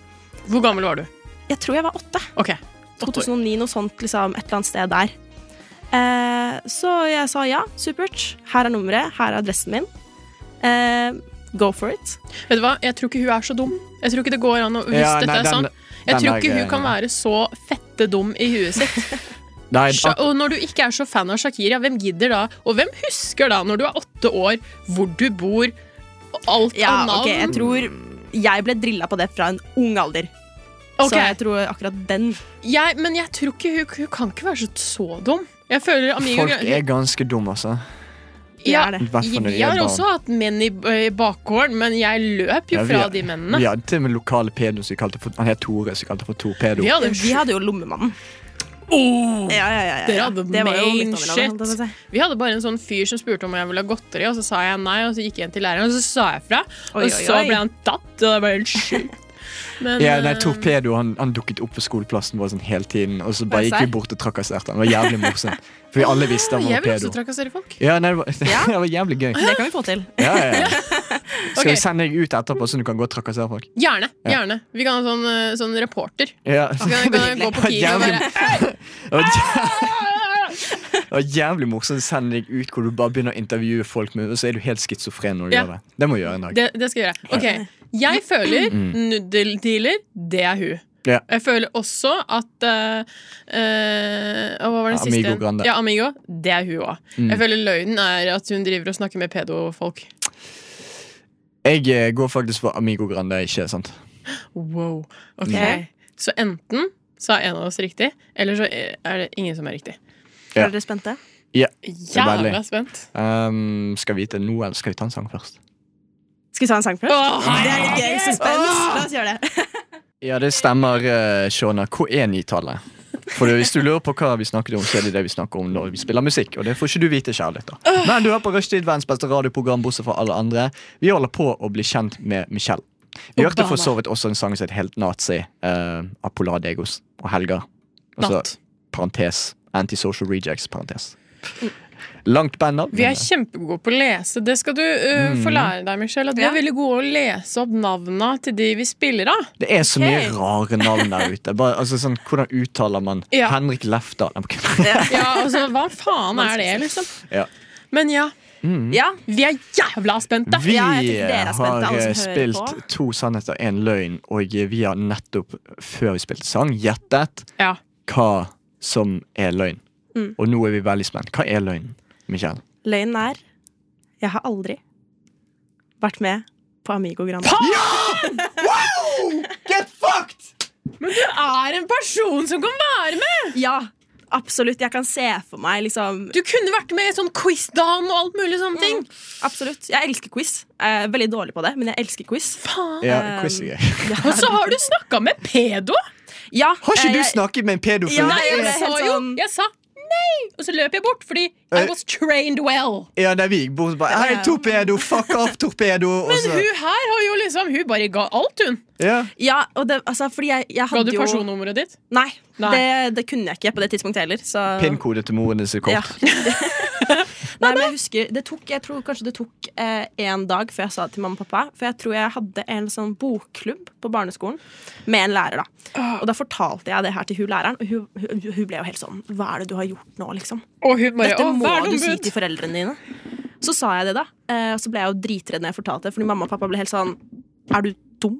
F: Hvor gammel var du?
E: Jeg tror jeg var åtte.
F: Ok,
E: 2009, noe sånt, liksom, et eller annet sted der. Eh, så jeg sa ja, supert. Her er nummeret, her er adressen min. Eh, go for it.
F: Vet du hva, Jeg tror ikke hun er så dum. Jeg tror ikke det går an å Hvis
C: Ja,
F: dette
C: nei,
F: er
C: den-
F: sant.
C: den
F: Jeg tror
C: er
F: ikke
C: grei.
F: hun kan være så fette dum i huet sitt.
C: Nei,
F: Sja-
C: ak-
F: Og når du ikke er så fan av Shakira, hvem gidder da? Og hvem husker da, når du er åtte år, hvor du bor, og alt
E: Ja,
F: av navn?
E: ok, jeg tror jeg ble drilla på det fra en ung alder.
F: Ok.
E: Så jeg tror akkurat den
F: Jeg, men jeg tror ikke hun, hun kan ikke være så, så dum. Jeg føler Amigo
C: folk er ganske dumme, altså.
F: ja,
E: er det.
C: I hvert fall når de
F: Vi har
C: er barn.
F: også hatt menn i, eh, i bakgården, men jeg løp jo
C: Ja, vi
F: fra
C: er-
F: de mennene.
C: Vi hadde til og med lokale pedo som vi kalte for Han het Tore, som vi kalte for Torpedo.
F: Vi hadde,
E: Vi hadde jo Lommemannen. Ja, ja, ja, ja.
F: Oh, Dere hadde
E: Det var jo
F: main
E: litt av en annen, holdt jeg på å si.
F: vi hadde bare en sånn fyr som spurte om jeg ville ha godteri, og så sa jeg nei, og så gikk jeg inn til læreren, og så sa jeg fra.
E: Oi,
F: og
E: oi,
F: så
E: oi.
F: ble han tatt, og det var helt sjukt. Men,
C: Ja, nei,
F: eh,
C: Torpedo han, han dukket opp på skoleplassen vår sånn hele tiden, og så bare gikk vi bort og trakasserte han. Det var jævlig morsomt. Fordi alle visste han
F: jeg
C: var
F: vil også
C: pedo.
F: trakassere folk.
C: Ja, nei, det, var, det var jævlig gøy.
E: Det kan vi få til.
C: Ja, ja, ja. Skal
F: Ok.
C: vi sende deg ut etterpå, så du kan gå og trakassere folk?
F: Gjerne.
C: Ja.
F: gjerne. Vi kan ha sånn, eh, sånn reporter.
C: Ja.
F: Så kan, kan jeg gå på Kiwi og
C: Jævlig-
F: bare
C: Det var jævlig- det var jævlig morsomt å sende deg ut hvor du bare begynner å intervjue folk, med, og så er du helt schizofren når du
F: Ja.
C: gjør det. Det må du gjøre en dag.
F: Det, det skal jeg gjøre. Ok, Jeg føler
C: Mm.
F: nudeldealer, det er hun.
C: Ja.
F: Jeg føler også at eh, eh, og Hva var den
C: Amigo
F: siste? igjen?
C: Grande. Mm.
F: Ja, Amigo. Det er hun òg. Jeg føler løgnen er at hun driver og snakker med pedofolk.
C: Jeg eh, går faktisk for Amigo Grande, ikke sant?
F: Wow. Ok.
E: Mm.
F: Så enten sa en av oss riktig, eller så er det ingen som er riktig.
C: Ja.
E: Er dere spente?
C: veldig.
F: Jævla spent.
C: Um, skal vi vite nå, eller skal vi ta en sang først?
E: Skal vi ta en sang først?
F: Åh,
E: Det er litt gøy. Suspens. La oss gjøre det.
C: Ja, det stemmer, eh, Shona. Hvor er nitallet? For hvis du lurer på hva vi snakket om, så er det det vi snakker om når vi spiller musikk. Og det får ikke du vite, kjære lytter. Men du er på Rushtid, verdens beste radioprogram, bortsett fra alle andre. Vi holder på å bli kjent med Michelle. Vi hørte for så vidt også en sang som het Helt nazi, eh, av Polar Degos og Helga. Og så
F: Natt.
C: parentes. Antisocial rejects, parentes. Langt band navn.
F: Vi er kjempegode på å lese. Det skal du eh,
C: Mm.
F: få lære deg, Michelle. At vi
E: Ja.
F: er veldig gode å lese opp navna til de vi spiller av.
C: eh, Det er så mye rare navn der ute. Bare, altså, sånn, hvordan uttaler man
F: Ja.
C: Henrik Lefdal?
F: Ja, altså, hva faen er det, liksom?
C: Ja.
F: Men ja,
E: Ja,
F: vi er jævla spente!
C: Vi
E: Ja, jeg tror dere er spente,
C: har
E: alle som
C: eh,
E: hører
C: spilt to sannheter og én løgn, og eh, vi har nettopp, før vi spilte sang, gjettet
F: Ja.
C: hva som er løgn.
E: Mm.
C: Og nå er vi veldig spent. Hva er løgn, Michael?
E: Løgnen er Jeg har aldri vært med på Amigo Grande.
C: Get fucked!
F: Men du er en person som kan være med!
E: Ja, absolutt. Jeg kan se for meg liksom
F: Du kunne vært med i sånn quiz-dan og alt mulig
C: Mm.
F: sånne ting.
E: Absolutt. Jeg elsker quiz. Jeg er veldig dårlig på det, men jeg elsker quiz.
F: Faen.
C: Ja,
E: Um,
C: quiz er gøy.
F: Og så har du snakka med pedo!
E: Ja,
C: Har ikke
E: eh,
C: du
E: jeg-
C: snakket med en pedofil?
E: Ja,
F: Nei,
E: jeg
F: jeg
E: ble
F: sa
E: helt
F: jo
E: sånn-
F: Jeg sa nei! Og så løper jeg bort, fordi I was trained well.
C: Ja, der vi gikk bort og bare Hei, torpedo! Fuck off, torpedo! Og
F: Men
C: så-
F: Altså, hun her har jo liksom Hun bare ga alt, hun.
C: ja.
E: Ja, og det, altså, fordi jeg, jeg
F: Ga
E: hadde
F: du
E: jo
F: personnummeret ditt?
E: Nei,
F: Nei.
E: Det, det kunne jeg ikke på det tidspunktet heller. Så,
C: Pinnkode til moren din sitt
E: ja.
C: kort.
E: Nei, men jeg husker det tok, Jeg tror kanskje det tok eh, en dag før jeg sa det til mamma og pappa. For jeg tror jeg hadde en sånn bokklubb på barneskolen med en lærer. da
F: Ah.
E: Og da fortalte jeg det her til hun læreren, og hun, hun, hun ble jo helt sånn Hva er det du har gjort nå, liksom?
F: Og hun bare
E: Dette
F: Å,
E: må du si
F: verneombud!
E: til foreldrene dine. Så sa jeg det, da. Eh, og så ble jeg jo dritredd når jeg fortalte det, fordi mamma og pappa ble helt sånn Er du dum?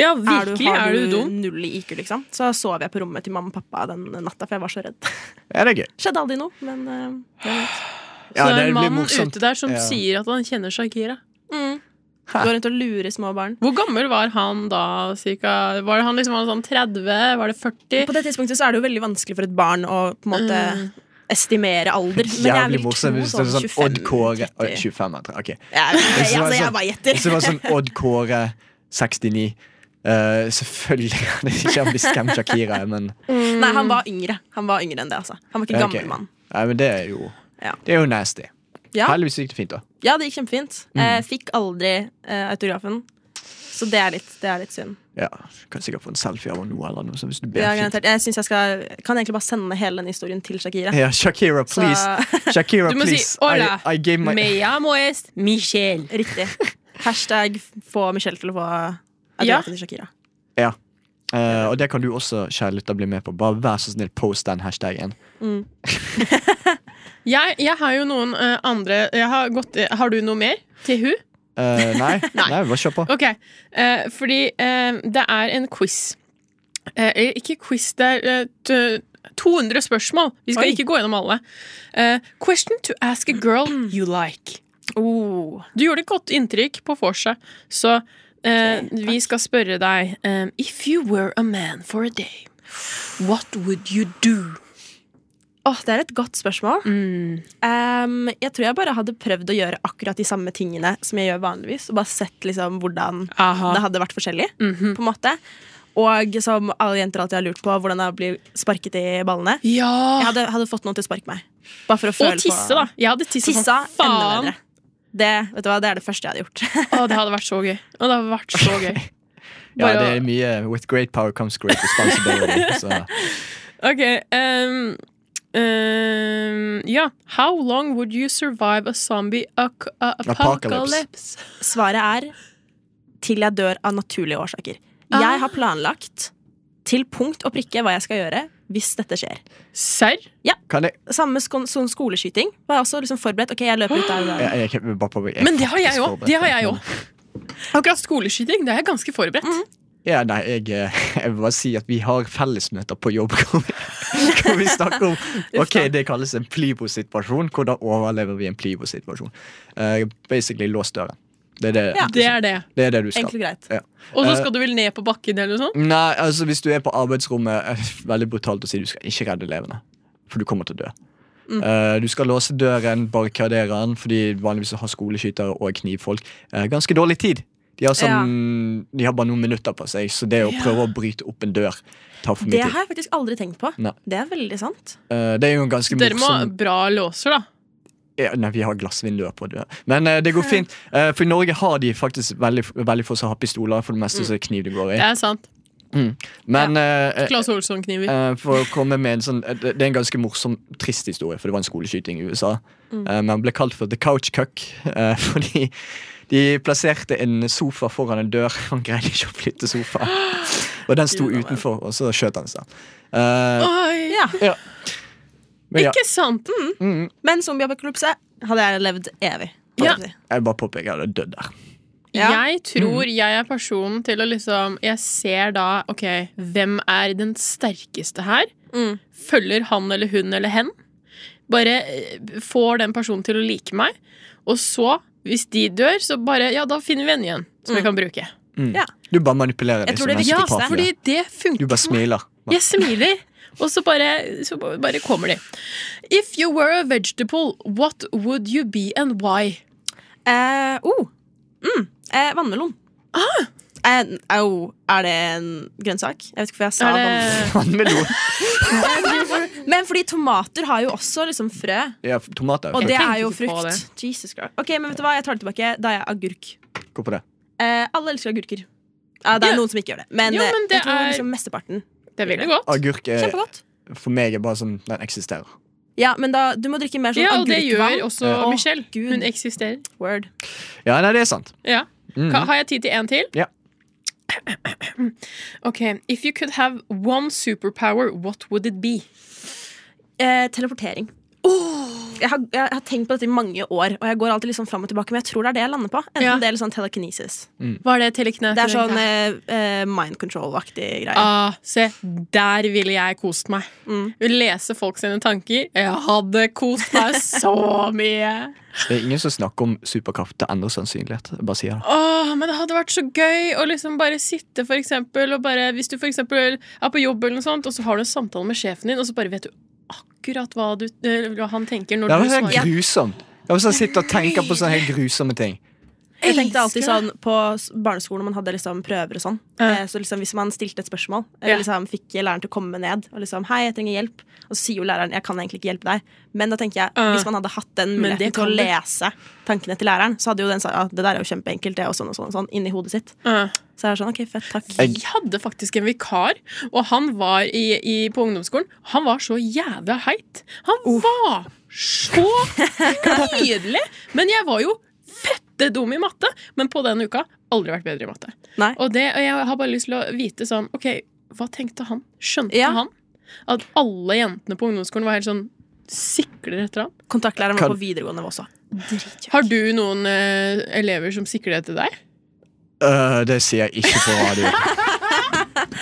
F: Ja,
E: Er du,
F: virkelig
E: har
F: er
E: du,
F: du dum.
E: null i IQ, liksom? Så sov jeg på rommet til mamma og pappa den natta, for jeg var så redd.
C: Ja, det er gøy.
E: Skjedde aldri noe, men eh, jeg vet.
C: Ja,
F: så det er
C: det blir
F: en mann
C: morsomt.
F: ute der som
C: Ja.
F: sier at han kjenner Shakira.
E: Går rundt og lurer små barn.
F: Hvor gammel var han da? Cirka? Var det han liksom var sånn 30? Var det 40?
E: På det tidspunktet så er det jo veldig vanskelig for et barn å på en måte estimere alder. Men jeg
C: Jævlig
E: vil
C: morsomt
E: tro
C: hvis det
E: sånn
C: er sånn Odd Kåre
E: 25-30.
C: Oi, 25 er det, ok.
E: Ja,
C: Hvis det
E: jeg-
C: var sånn-
E: altså, jeg bare
C: Hvis det
E: gjetter.
C: var sånn Odd Kåre 69 eh, Selvfølgelig hadde ikke han blitt stemt Shakira, men
E: Nei, han var yngre. Han var yngre enn det, altså. Han var ikke
C: sånn- Ok.
E: gammel mann.
C: Nei, men det er jo
E: Ja.
C: Det er jo nasty.
E: Ja.
C: Heldigvis gikk det fint, da.
E: Ja, det gikk kjempefint.
C: Mm.
E: Eh, fikk aldri eh, autografen. Så det er litt, det er litt synd.
C: Ja, Kan sikkert få en selfie av henne nå eller noe. Så hvis du ber
E: Ja,
C: fint.
E: garantert. Jeg, synes jeg skal, kan egentlig bare sende hele den historien til Shakira.
C: Ja, Shakira, please. Shakira,
F: Du må si,
C: please.
F: «Hola,
C: I, I gave my
F: Mea moest Michel.
E: Riktig. Hashtag få Michelle til å få
F: Ja.
E: autografen til Shakira.
C: Ja. Eh, og det kan du også, kjære lytter, bli med på. Bare vær så snill, post den hashtagen.
F: Jeg, jeg har jo noen eh, andre jeg har, gått, eh, har du noe mer til hun?
C: Eh, nei, nei. bare kjør på.
F: Ok, eh, fordi eh, det er en quiz. Eh, eller ikke quiz, det er eh, t- 200 spørsmål. Vi skal
E: Oi.
F: ikke gå gjennom alle. Eh, question to ask a girl you like.
E: Oh.
F: Du gjorde et godt inntrykk på vorset, så eh, vi skal spørre deg eh, If you were a man for a day, what would you do?
E: Åh, det er et godt spørsmål.
F: Mm.
E: Em, jeg tror jeg bare hadde prøvd å gjøre akkurat de samme tingene som jeg gjør vanligvis. Og bare sett liksom hvordan
F: Aha. Mhm.
E: det hadde vært forskjellig. På en måte Og som alle jenter alltid har lurt på, hvordan det er å bli sparket i ballene. Jeg
F: Ja!
E: hadde, hadde fått noen til å sparke meg. Bare for å føle
F: Og tisse,
E: på
F: da. Jeg hadde tissa
E: Tissa
F: som
E: enda
F: faen.
E: bedre. Det, vet du hva, det er det første jeg hadde gjort.
F: Å, det hadde vært så gøy. Å, det hadde vært så gøy.
C: Ja,
F: Bare-
C: det er mye With great power comes great responsibility. Så.
F: Ok, ehm, ehm, ja. How long would you survive a zombie ac- a-
C: Apocalypse.
F: apocalypse?
E: Svaret er til jeg dør av naturlige årsaker.
F: Ah.
E: Jeg har planlagt til punkt og prikke hva jeg skal gjøre hvis dette skjer.
F: Serr?
C: Kan jeg,
E: Samme sko som skoleskyting. Var jeg også liksom forberedt. Ok, jeg løper ut der og der.
C: jeg, jeg, kan- bare på, jeg
F: Men det har jeg
C: faktisk
F: òg. Det har jeg
C: forberedt meg.
F: òg. Akkurat skoleskyting, det er jeg ganske forberedt.
C: Mhm, Ja, nei, jeg, eh, jeg vil bare si at vi har fellesmøter på jobb hvor vi, hvor vi snakker om Ok, det kalles en plibosituasjon. Hvordan overlever vi en plibosituasjon? Eh, basically lås døren. Det er det,
E: Ja.
F: Det er det.
C: det, er det du skal.
E: Enkelt og greit.
C: Ja.
F: Og så skal du vel ned på bakken eller noe sånt?
C: Nei, altså hvis du er på arbeidsrommet eh, Veldig brutalt å si du skal ikke redde elevene For du kommer til å dø
F: Mm.
C: Eh, Du skal låse døren, barrikadere den Fordi vanligvis har skoleskytere og knivfolk eh, Ganske dårlig tid de har, sånn, de har bare noen minutter på seg Så det å prøve å bryte opp en dør Tar for
E: Det
C: mye tid
E: har jeg faktisk aldri tenkt på.
C: Nei.
E: Det er veldig sant.
C: Eh, Det er jo en ganske
F: Dere må ha
C: morsom
F: bra låser, da.
C: Ja, Nei, vi har glassvinduer på døren Men eh, det går fint Eh, For i Norge har de faktisk veldig, veldig få som har pistoler For det meste
F: Mm.
C: så er det kniv det går i
F: Det er sant.
C: Men eh,
F: Claes Olsson-kniver.
C: Eh, for å komme med en sånn Det det er en ganske morsom, trist historie, for det var en skoleskyting i USA.
E: Mm.
C: Eh, men han ble kalt for The Couch Cuck eh, fordi de plasserte en sofa foran en dør. Han greide ikke å flytte sofaen, og den sto utenfor, og så skjøt han seg. Eh,
F: Oi,
E: Ja.
C: ja. Men ja,
F: Ikke sant?
E: Men zombieapokalypse hadde jeg levd evig.
F: Ja.
E: Ja. ja,
C: jeg bare påpeker jeg hadde dødd der.
E: Ja.
F: Jeg tror
C: Mm.
F: jeg er personen til å liksom Jeg ser da OK, hvem er den sterkeste her?
E: Mm.
F: Følger han eller hun eller hen? Bare eh, får den personen til å like meg. Og så, hvis de dør, så bare Ja, da finner vi en igjen som jeg kan bruke.
C: Du bare manipulerer
E: Jeg
C: dem
E: tror
C: som
E: det er
F: Ja,
E: viktigste.
C: psykopat.
F: fordi det
C: Du
F: funker.
C: bare smiler.
F: Jeg smiler. Og så bare, så bare kommer de. If you were a vegetable, what would you be and why?
E: Eh, oh. mm. eh, vannmelon.
F: Ah!
E: Eh, au, er det en grønnsak? Jeg vet ikke hvorfor jeg sa
F: Er det
E: vannmelon.
C: Vannmelon.
E: Men fordi tomater har jo også liksom frø,
C: Ja, f- tomater.
E: og
C: Fuck,
E: det
F: tenkte
E: er jo
F: ikke på
E: frukt. Jesus Christ. Ok, men vet du hva, jeg tar det tilbake. Da er jeg agurk.
C: Gå på det.
E: Eh, alle elsker agurker. Ja, det er
F: Ja.
E: noen som ikke gjør det, men,
F: Jo,
E: eh,
F: men det
E: jeg tror
F: er-
E: liksom mesteparten.
F: Det er veldig godt.
C: Agurk er,
E: Kjempegodt.
C: for meg er bare sånn Den eksisterer.
E: Ja, men da, du må drikke mer sånn
F: Ja, og det gjør
E: agurkvann.
F: også
E: Å,
F: Michelle.
E: Gud.
F: Hun eksisterer.
E: Word.
C: Ja, nei, det er sant.
F: Ja.
C: Mm.
F: Ka- Har jeg tid til en til?
C: Ja.
F: Ok, If you could have one superpower, what would it be?
E: Eh, teleportering. Jeg, har, jeg har tenkt på dette i mange år, og jeg går alltid liksom fram og tilbake, men jeg tror det er det jeg lander på. Enten
F: Ja.
E: det eller sånn telekinesis.
F: Hva er det telekne?
E: Det er sånn eh, eh, mind control-aktig greie.
F: Ah, se, der ville jeg kost meg.
E: Mm.
F: Vil Lese folk sine tanker. Jeg hadde kost meg så mye.
C: Det er ingen som snakker om superkraft til endre sannsynlighet. Jeg bare sier det.
F: Åh, men det hadde vært så gøy å liksom bare sitte, for eksempel, og bare Hvis du for eksempel er på jobb, eller noe sånt, og så har du en samtale med sjefen din, og så bare vet du akkurat hva, du, eh, hva han tenker når
C: Det
F: du
C: var sånn
F: svarer.
C: grusomt. Jeg var sånn sitter og tenker på sånne helt grusomme ting.
E: Jeg tenkte alltid
F: elsker
E: sånn På s- barneskolen når man hadde liksom prøver og sånn
F: Ja.
E: eh, Så liksom hvis man stilte et spørsmål
F: Ja.
E: Eller liksom fikk læreren til å komme ned Og liksom, hei, jeg trenger hjelp Og så sier jo læreren, jeg kan egentlig ikke hjelpe deg Men da tenker jeg,
F: Ja.
E: hvis man hadde hatt den
F: Men
E: muligheten
F: det
E: til å
F: kan du.
E: lese Tankene til læreren, så hadde jo den sagt ja, Det der er jo kjempeenkelt, det og sånn og sånn, og sånn Inni hodet sitt
F: Ja.
E: Så jeg er sånn, ok, fett, takk
C: Jeg-
F: Vi hadde faktisk en vikar, og han var i, i, på ungdomsskolen. Han var så jævla heit. Han var så nydelig! Men jeg var jo fette dum i matte. Men på den uka aldri vært bedre i matte.
E: Nei.
F: Og, det, og jeg har bare lyst til å vite sånn OK, hva tenkte han? Skjønte
E: Ja.
F: han at alle jentene på ungdomsskolen var helt sånn sikler etter han?
E: Kontaktlæreren
C: Kan-
E: var på videregående også
F: Har du noen eh, elever som sikler etter deg?
C: Øh, det sier jeg ikke på radio.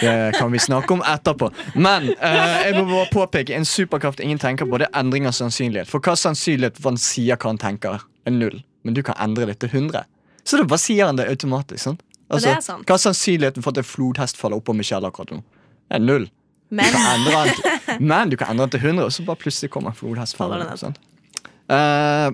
C: Det kan vi snakke om etterpå. Men øh, jeg må bare påpeke en superkraft ingen tenker på, det er endring av sannsynlighet. For hva er sannsynlighet for han sier hva han tenker, er null. Men du kan endre det til 100. Så da bare sier han det automatisk. sant? Altså,
E: Og det er sant.
C: Hva er sannsynligheten for at en flodhest faller opp på Michelle akkurat nå? Det er null. Du
E: Men
C: kan endre den til, men du kan endre den til 100, og så bare plutselig kommer en flodhest
E: Faller
C: faller
E: den
C: opp. sant? Øh,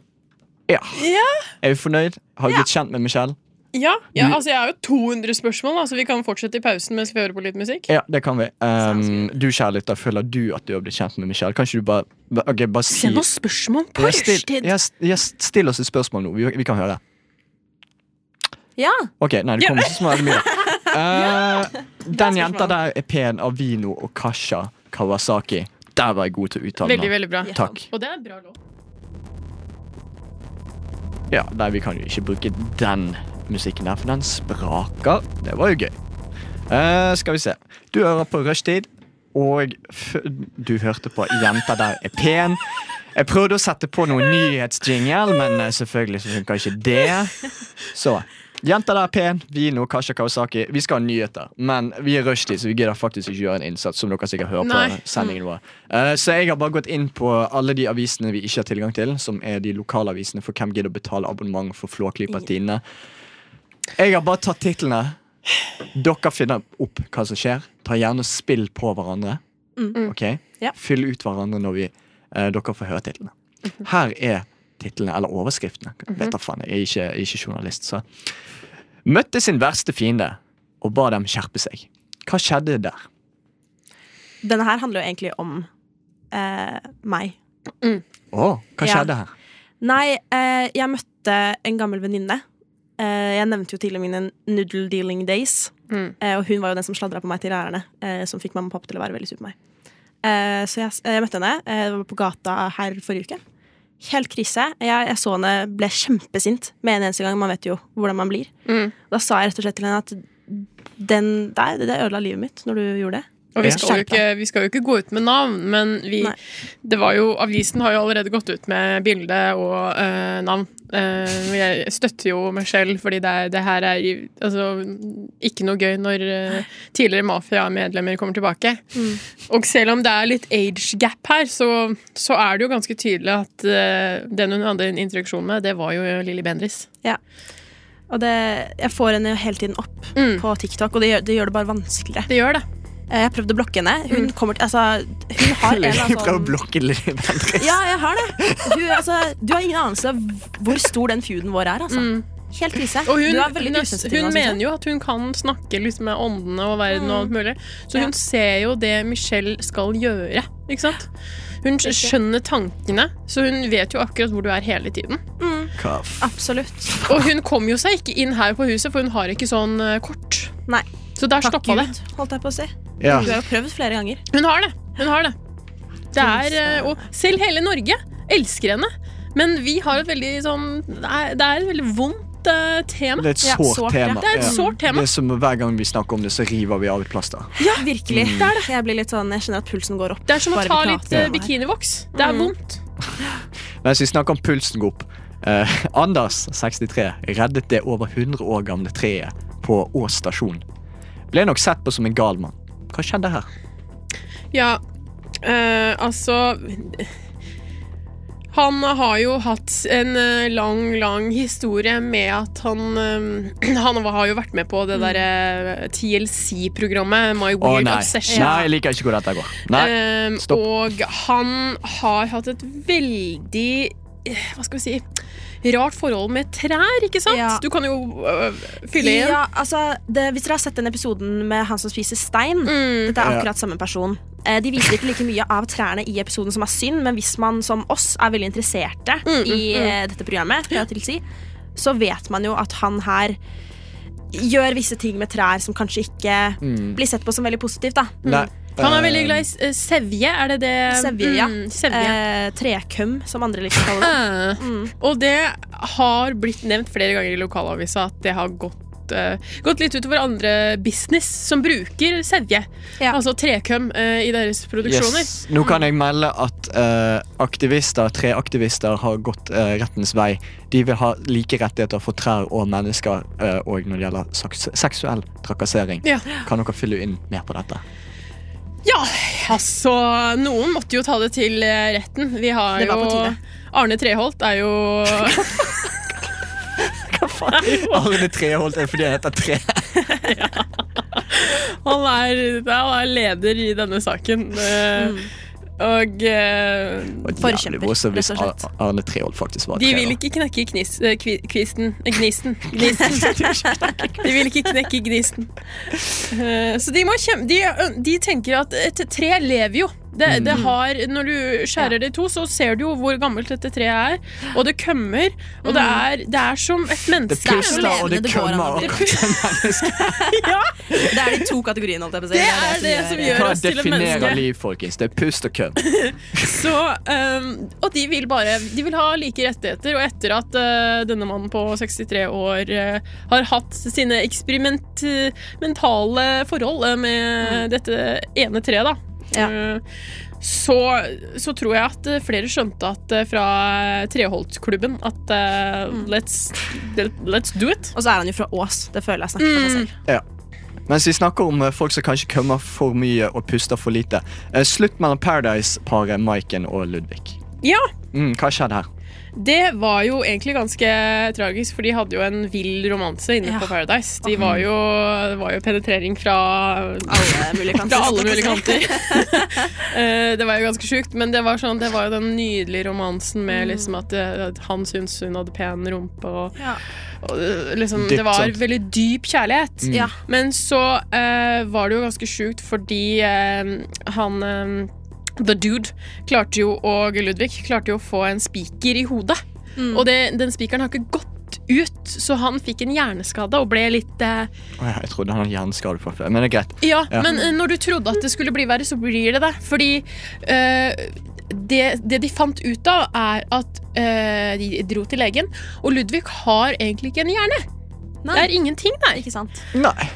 C: ja. Er vi fornøyd? Har vi blitt kjent med Michelle?
F: Ja, altså Jeg er jo 200 spørsmål, da, så vi kan fortsette i pausen mens vi hører på litt musikk.
C: Ja, det kan vi. Um, du kjærligheter, føler du at du har blitt kjent med Michelle? Kan ikke du bare, ba- ok, bare si
F: Send oss spørsmål på
C: Ja, still,
F: rushtid!
C: ja, s- ja, s- still oss et spørsmål nå. Vi, vi kan høre.
E: ja,
C: Ok, nei, det
F: Ja.
C: kommer ikke så mye. Uh, den jenta der er pen av Vino og Kasha Kawasaki. Der var jeg god til å uttale meg.
F: Veldig, veldig bra.
C: Takk.
F: Og det er en bra låt.
C: Ja, nei, vi kan jo ikke bruke den musikken der, for den spraker. Det var jo gøy. Eh, skal vi se. Du hører på Rushtid, og f du hørte på Jenta der er pen. Jeg prøvde å sette på noen nyhetsjingle, men eh, selvfølgelig så funka ikke det. Så Jenta der er pen, Vino, Kasha Kawasaki. Vi skal ha nyheter, men vi er rushtid, så vi gidder faktisk ikke gjøre en innsats. Som dere sikkert hører
F: Nei.
C: på sendingen vår Eh, Så jeg har bare gått inn på alle de avisene vi ikke har tilgang til, som er de lokale avisene, for hvem gidder å betale abonnement for Flåklypa-tidene. Jeg har bare tatt titlene. Dere finner opp hva som skjer. Ta gjerne og spill på hverandre. Ok?
E: Ja.
C: Fyll ut hverandre når vi, eh, dere får høre titlene. Her er titlene, eller overskriftene. Vet da faen, jeg er ikke, jeg er ikke journalist, så. Møtte sin verste fiende og ba dem skjerpe seg. Hva skjedde der?
E: denne her handler jo egentlig om eh, meg
C: Å, hva
E: Ja.
C: skjedde her?
E: Nei, eh, jeg møtte en gammel venninne. Eh, jeg nevnte jo tidligere mine noodle dealing days.
F: Mm.
E: Eh, og hun var jo den som sladra på meg til lærerne, eh, som fikk mamma og pappa til å være veldig sur på meg. Eh, så jeg, s- jeg møtte henne eh, det var på gata her forrige uke. Helt krise. Jeg, jeg så henne ble kjempesint med en eneste gang. Man vet jo hvordan man blir.
F: Mm.
E: Da sa jeg rett og slett til henne at den der, det der ødela livet mitt når du gjorde det.
F: Og vi
C: Ja.
F: skal, jo ikke, vi skal jo ikke gå ut med navn, men vi,
E: Nei.
F: det var jo, avisen har jo allerede gått ut med bilde og eh, navn. Eh, jeg støtter jo meg selv, fordi det, er, det her er i- altså, ikke noe gøy når eh, tidligere mafiamedlemmer kommer tilbake. Og selv om det er litt age gap her, så, så er det jo ganske tydelig at eh, den hun hadde en interaksjon med, det var jo Lilly Bendriss.
E: Og det, jeg får henne jo hele tiden opp
F: Mm.
E: på TikTok, og det gjør det, gjør det bare vanskeligere.
F: Det gjør det.
E: Eh, Jeg har prøvd å blokke henne. Hun
F: Mm.
E: kommer til Altså, hun har en
C: Jeg
E: eller
C: prøver å
E: annen sånn
C: blokke Lilly Bendriss.
E: Ja, jeg har det. Hun, altså, du har ingen anelse av hvor stor den feuden vår er, altså. Helt krise.
F: Mm. Og hun,
E: du er veldig
F: hun, er-
E: usensitiv. altså.
F: hun
E: nå, synes jeg.
F: mener jo at hun kan
E: Mm.
F: snakke liksom med åndene og verden og alt mulig, så hun ser jo det Michelle skal gjøre. Ikke sant? Hun skjønner tankene, så hun vet jo akkurat hvor du er hele tiden.
C: Hva f...
E: Absolutt.
F: Og hun kom jo seg ikke inn her på huset, for hun har ikke sånn eh, kort.
E: Nei.
F: Så der
E: Takk
F: stoppa det.
E: Gud, holdt jeg på å si.
C: Ja.
E: Du har jo prøvd flere ganger.
F: Hun har det. Hun har det. det er, eh, og selv hele Norge elsker henne. Men vi har et veldig sånn Det er, det er et veldig vondt eh, tema.
C: Det er et
E: Ja,
C: sårt
E: sårt, ja.
C: tema.
F: Det er et
C: Ja.
F: sårt tema.
C: Det er som hver gang vi snakker om det, så river vi av et plaster.
E: Ja, virkelig. Det er det. Jeg blir litt sånn, jeg kjenner at pulsen går opp.
F: Det er som å
E: Bare
F: ta
E: vi
F: litt
E: prater
F: eh,
E: om det her.
F: bikinivoks. Det er vondt.
C: Mens vi snakker om pulsen går opp. Eh, Anders, 63, reddet det over 100 år gamle treet på Ås stasjon. Ble nok sett på som en gal mann. Hva skjedde her?
F: Ja, eh, altså Han har jo hatt en eh, lang, lang historie med at han eh, Han har jo vært med på det eh, derre TLC-programmet, My
C: Å
F: Weird
C: nei.
F: Obsession.
C: nei, jeg liker ikke hvor dette går. Nei,
F: Eh,
C: stopp.
F: og han har hatt et veldig eh, Hva skal vi si Rart forhold med trær, ikke sant?
E: Ja.
F: Du kan jo øh, fylle igjen.
E: Ja, altså, det, hvis dere har sett den episoden med han som spiser
F: Mm.
E: stein Dette er
C: Ja.
E: akkurat samme person. Eh, De viser ikke like mye av trærne i episoden som er synd, men hvis man som oss er veldig interesserte
F: Mm,
E: i eh, dette programmet, kan jeg til å si, så vet man jo at han her gjør visse ting med trær som kanskje ikke blir sett på som veldig positivt. da.
F: Mm.
C: nei.
F: Han er
C: Eh,
F: veldig glad i s- eh, sevje, er det det?
E: Sevje, ja.
F: Mm, sevje.
E: Eh, mm. trekøm, som andre liker å kalle det.
F: Eh, Og det har blitt nevnt flere ganger i lokalavisa at det har gått, eh, gått litt utover andre business som bruker sevje.
E: Ja.
F: Altså trekøm eh, i deres produksjoner.
C: Yes. Nå kan jeg melde at eh, aktivister, treaktivister har gått eh, rettens vei. De vil ha like rettigheter for trær og mennesker, eh, og når det gjelder saks- seksuell trakassering.
F: Ja.
C: Kan dere fylle inn mer på dette?
F: ja, altså Noen måtte jo ta det til eh, retten. Vi har
E: Det var på
F: jo
E: tide.
F: Arne Treholt er jo
C: Arne Treholt er fordi han heter Tre.
F: Han er, han er leder i denne saken. eh,
E: Mm.
F: Og eh,
C: Og
E: Forkjemper,
C: jævlig også hvis
E: rett og slett.
C: Ar- Arne Treholt faktisk var
F: de
C: tre,
F: vil
C: da.
F: ikke knekke knis, eh, kvi- kvisten eh, Gnisten. gnisten. De vil ikke knekke gnisten. Eh, Så de, må kjem- de, de tenker at et tre lever jo. Det, det har, når du skjærer det i to, så ser du jo hvor gammelt dette treet er. Og det kømmer. Og det er, det er som et
C: Det
F: menneske.
C: puster og det
E: levende, det går an
C: kømmer.
E: å bli-
C: akkurat som mennesker.
E: Det er de to kategoriene. holdt jeg på å si.
F: Det er det som gjør
C: Hva
F: oss til et menneske.
C: definerer liv, folkens? Det er pust og køm.
F: Så, ehm, og de vil bare De vil ha like rettigheter, og etter at eh, denne mannen på 63 år eh, har hatt sine eksperimentale forhold eh, med dette ene treet, da
E: Mm. Ja.
F: eh, så, så tror jeg at eh, flere skjønte at eh, fra Treholtklubben at eh,
E: Mm.
F: let's, let's do it.
E: Og så er han jo fra Ås. Det føler jeg snakker for seg
F: Mm.
E: selv.
C: Mens vi snakker om eh, folk som kanskje kømmer for mye og puster for lite. eh, Slutt mellom Paradise-paret Maiken og Ludvig.
F: Ja,
C: Mm, hva skjedde her?
F: Det var jo egentlig ganske tragisk, for de hadde jo en vill romanse inne
E: Ja.
F: på Paradise. De var jo, det var jo penetrering fra,
E: Alle mulige kanter.
F: fra alle mulige kanter. Eh, det var jo ganske sjukt, men det var, sånn, det var jo den nydelige romansen med liksom at, eh, at han syntes hun hadde pen rumpe og,
E: Ja.
F: og eh, liksom,
C: Dypt,
F: Det var
C: sant? Mm.
F: veldig dyp kjærlighet.
E: Ja.
F: Men så eh, var det jo ganske sjukt fordi eh, han eh, The Dude klarte jo, og Ludvig klarte jo å få en spiker i hodet. Og det, den spikeren har ikke gått ut, så han fikk en hjerneskade og ble litt eh,
C: Å ja, jeg trodde han hadde hjerneskade fra før, men det er greit.
F: ja,
C: Ja.
F: men eh, når du trodde at det skulle bli verre, så blir det det. Fordi eh, det, det de fant ut av, er at eh, de dro til legen, og Ludvig har egentlig ikke en hjerne.
E: Nei.
F: Det er ingenting der.
E: Ikke sant?
C: Nei,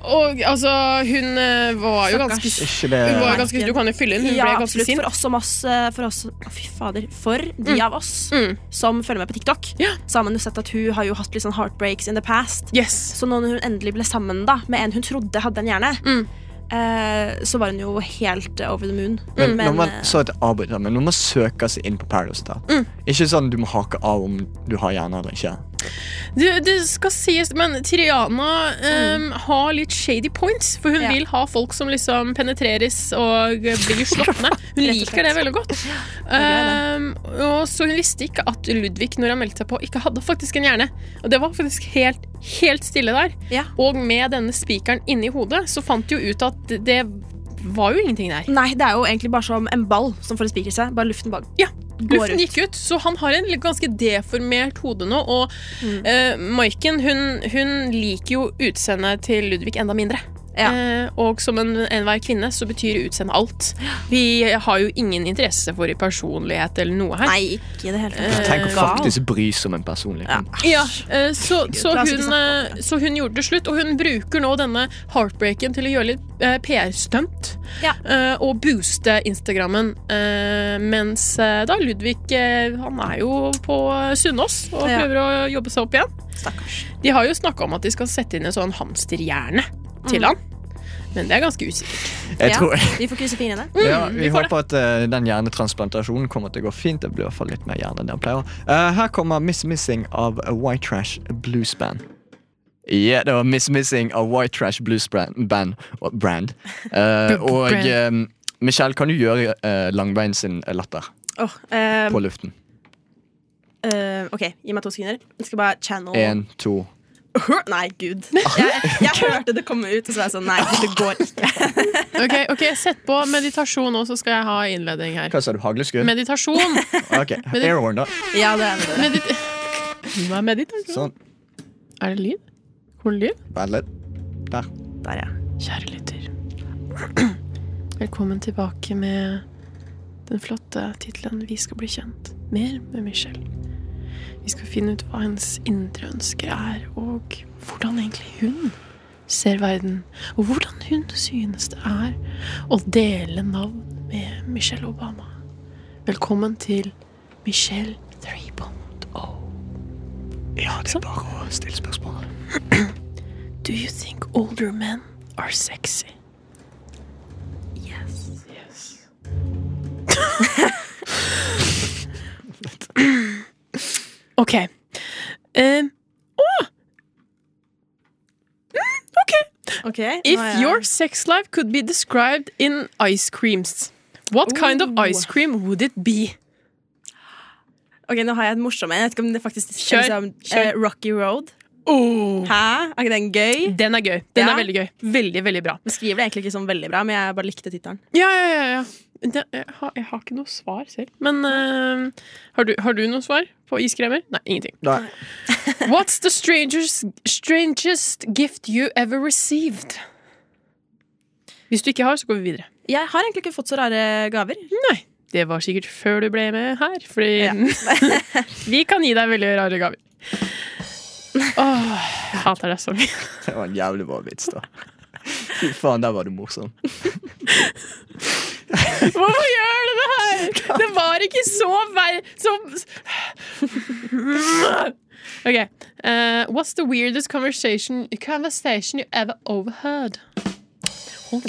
F: Og altså, hun eh, var jo ganske
C: ikke det
F: Hun var jo ganske, du kan jo fylle inn. Hun
E: Ja,
F: ble ganske
E: absolutt.
F: sint.
E: For oss som oss eh, For, oss, å, fy fader, for de av oss
F: Mm.
E: som følger med på TikTok,
F: Ja.
E: så har man jo sett at hun har jo hatt litt sånn heartbreaks in the past.
F: Yes.
E: Så når hun endelig ble sammen da med en hun trodde hadde en hjerne,
F: Mm.
E: eh, så var hun jo helt eh, over the moon.
C: Men, når man,
E: eh, Mm.
C: så et arbeid, men når man søker seg inn på Paradise Hotel Ikke sånn du må hake av om du har hjerne eller ikke.
F: Det, det skal sies, men Triana um, har litt shady points. For hun
E: Ja.
F: vil ha folk som liksom penetreres og blir slått ned. Hun
E: og
F: liker det veldig godt.
E: er
F: Um, og så hun visste ikke at Ludvig, når han meldte seg på, ikke hadde faktisk en hjerne. Og det var faktisk helt, helt stille der.
E: Ja.
F: Og med denne spikeren inni hodet, så fant de jo ut at det var jo ingenting der.
E: Nei, det er jo egentlig bare som en ball som får en spiker i seg. Bare luften bak.
F: Ja,
E: går
F: Luften
E: ut.
F: gikk ut, så han har en ganske deformert hode nå. Og
E: Mm.
F: eh, Maiken hun, hun liker jo utseendet til Ludvig enda mindre.
E: Ja.
F: Eh, og som en, enhver kvinne så betyr utseende alt. Vi har jo ingen interesse for i personlighet eller noe her.
E: Nei, ikke i det hele tatt.
C: Tenk å
E: Eh,
C: faktisk bry seg om en personlig
E: Ja.
F: Ja, eh, så, så,
E: La oss ikke
F: hun, eh, så hun gjorde det slutt, og hun bruker nå denne heartbreaken til å gjøre litt eh, PR-stunt.
E: Ja.
F: eh, Og booste Instagrammen. eh, Mens eh, da Ludvig eh, han er jo på eh, Sunnaas og
E: Ja.
F: prøver å jobbe seg opp igjen.
E: Stakkars.
F: De har jo snakka om at de skal sette inn en sånn hamsterhjerne
E: Mm.
F: til han. Men det er ganske usikkert.
C: Jeg tror
E: Ja, vi får krysse fingrene.
C: ja, Vi
F: vi får
C: håper at eh, den hjernetransplantasjonen kommer til å gå fint. Det blir i hvert fall litt mer hjerne enn den pleier. Eh, her kommer Miss Missing av White Trash Blues Band. Ja, det var Miss Missing av White Trash Blues Brand. brand, og- brand. Eh, og eh, Michelle, kan du gjøre eh, Langbein sin latter
E: Åh, eh,
C: på luften?
E: eh, ok, gi meg to sekunder. Jeg skal bare channel
C: Én, to
E: Nei, gud. Jeg, jeg hørte det komme ut, og så var jeg sånn Nei, det går ikke.
F: Ok, ok, Sett på meditasjon nå, så skal jeg ha innledning her.
C: Hva sa du? Hagleskudd?
F: Meditasjon.
C: Ok, Airhorn, da.
E: Ja, det er det.
F: Medit Hva er meditasjon?
C: Sånn.
F: Er det lyd? Hvor lyd?
C: Vent litt. Der.
E: Der, ja.
F: Kjære lytter. Velkommen tilbake med den flotte tittelen 'Vi skal bli kjent mer med Michelle'. Vi skal finne ut hva hennes indre ønsker er, og hvordan egentlig hun ser verden. Og hvordan hun synes det er å dele navn med Michelle Obama. Velkommen til Michelle 3.0.
C: Ja, det er bare å stille spørsmål.
F: Do you think older men are sexy? Yes. Yes. ok. Um,
E: Ok,
F: if
E: nå er jeg-
F: your sex life could be described in ice creams, what kind of ice cream would it be?
E: Ok, nå har jeg et morsomt en. Jeg vet ikke om det faktisk
F: Kjør,
E: liksom,
F: kjør.
E: eh, Rocky Road.
F: Oh.
E: Hæ? Er ikke den gøy?
F: Den er gøy. Den
E: Ja.
F: er veldig gøy. Veldig, veldig bra.
E: Jeg skriver det egentlig ikke sånn veldig bra, men jeg bare likte tittelen.
F: Ja, ja, ja. ja. Det, jeg, har, jeg har ikke noe svar selv. Men eh, har, du, har du noe svar på iskremer? Nei, ingenting.
C: Nei.
F: What's the strangest, strangest gift you ever received? Hvis du ikke har, så går vi videre.
E: Jeg har egentlig ikke fått så rare gaver.
F: Det var sikkert før du ble med her, fordi vi kan gi deg veldig rare gaver. Åh, jeg hater deg så mye.
C: Det var en jævlig bra vits, da. Fy faen, der var du morsom.
F: Hvorfor gjør du det her? Det var ikke så ver... Så OK. eh, what's the weirdest conversation, conversation you ever overheard? Hold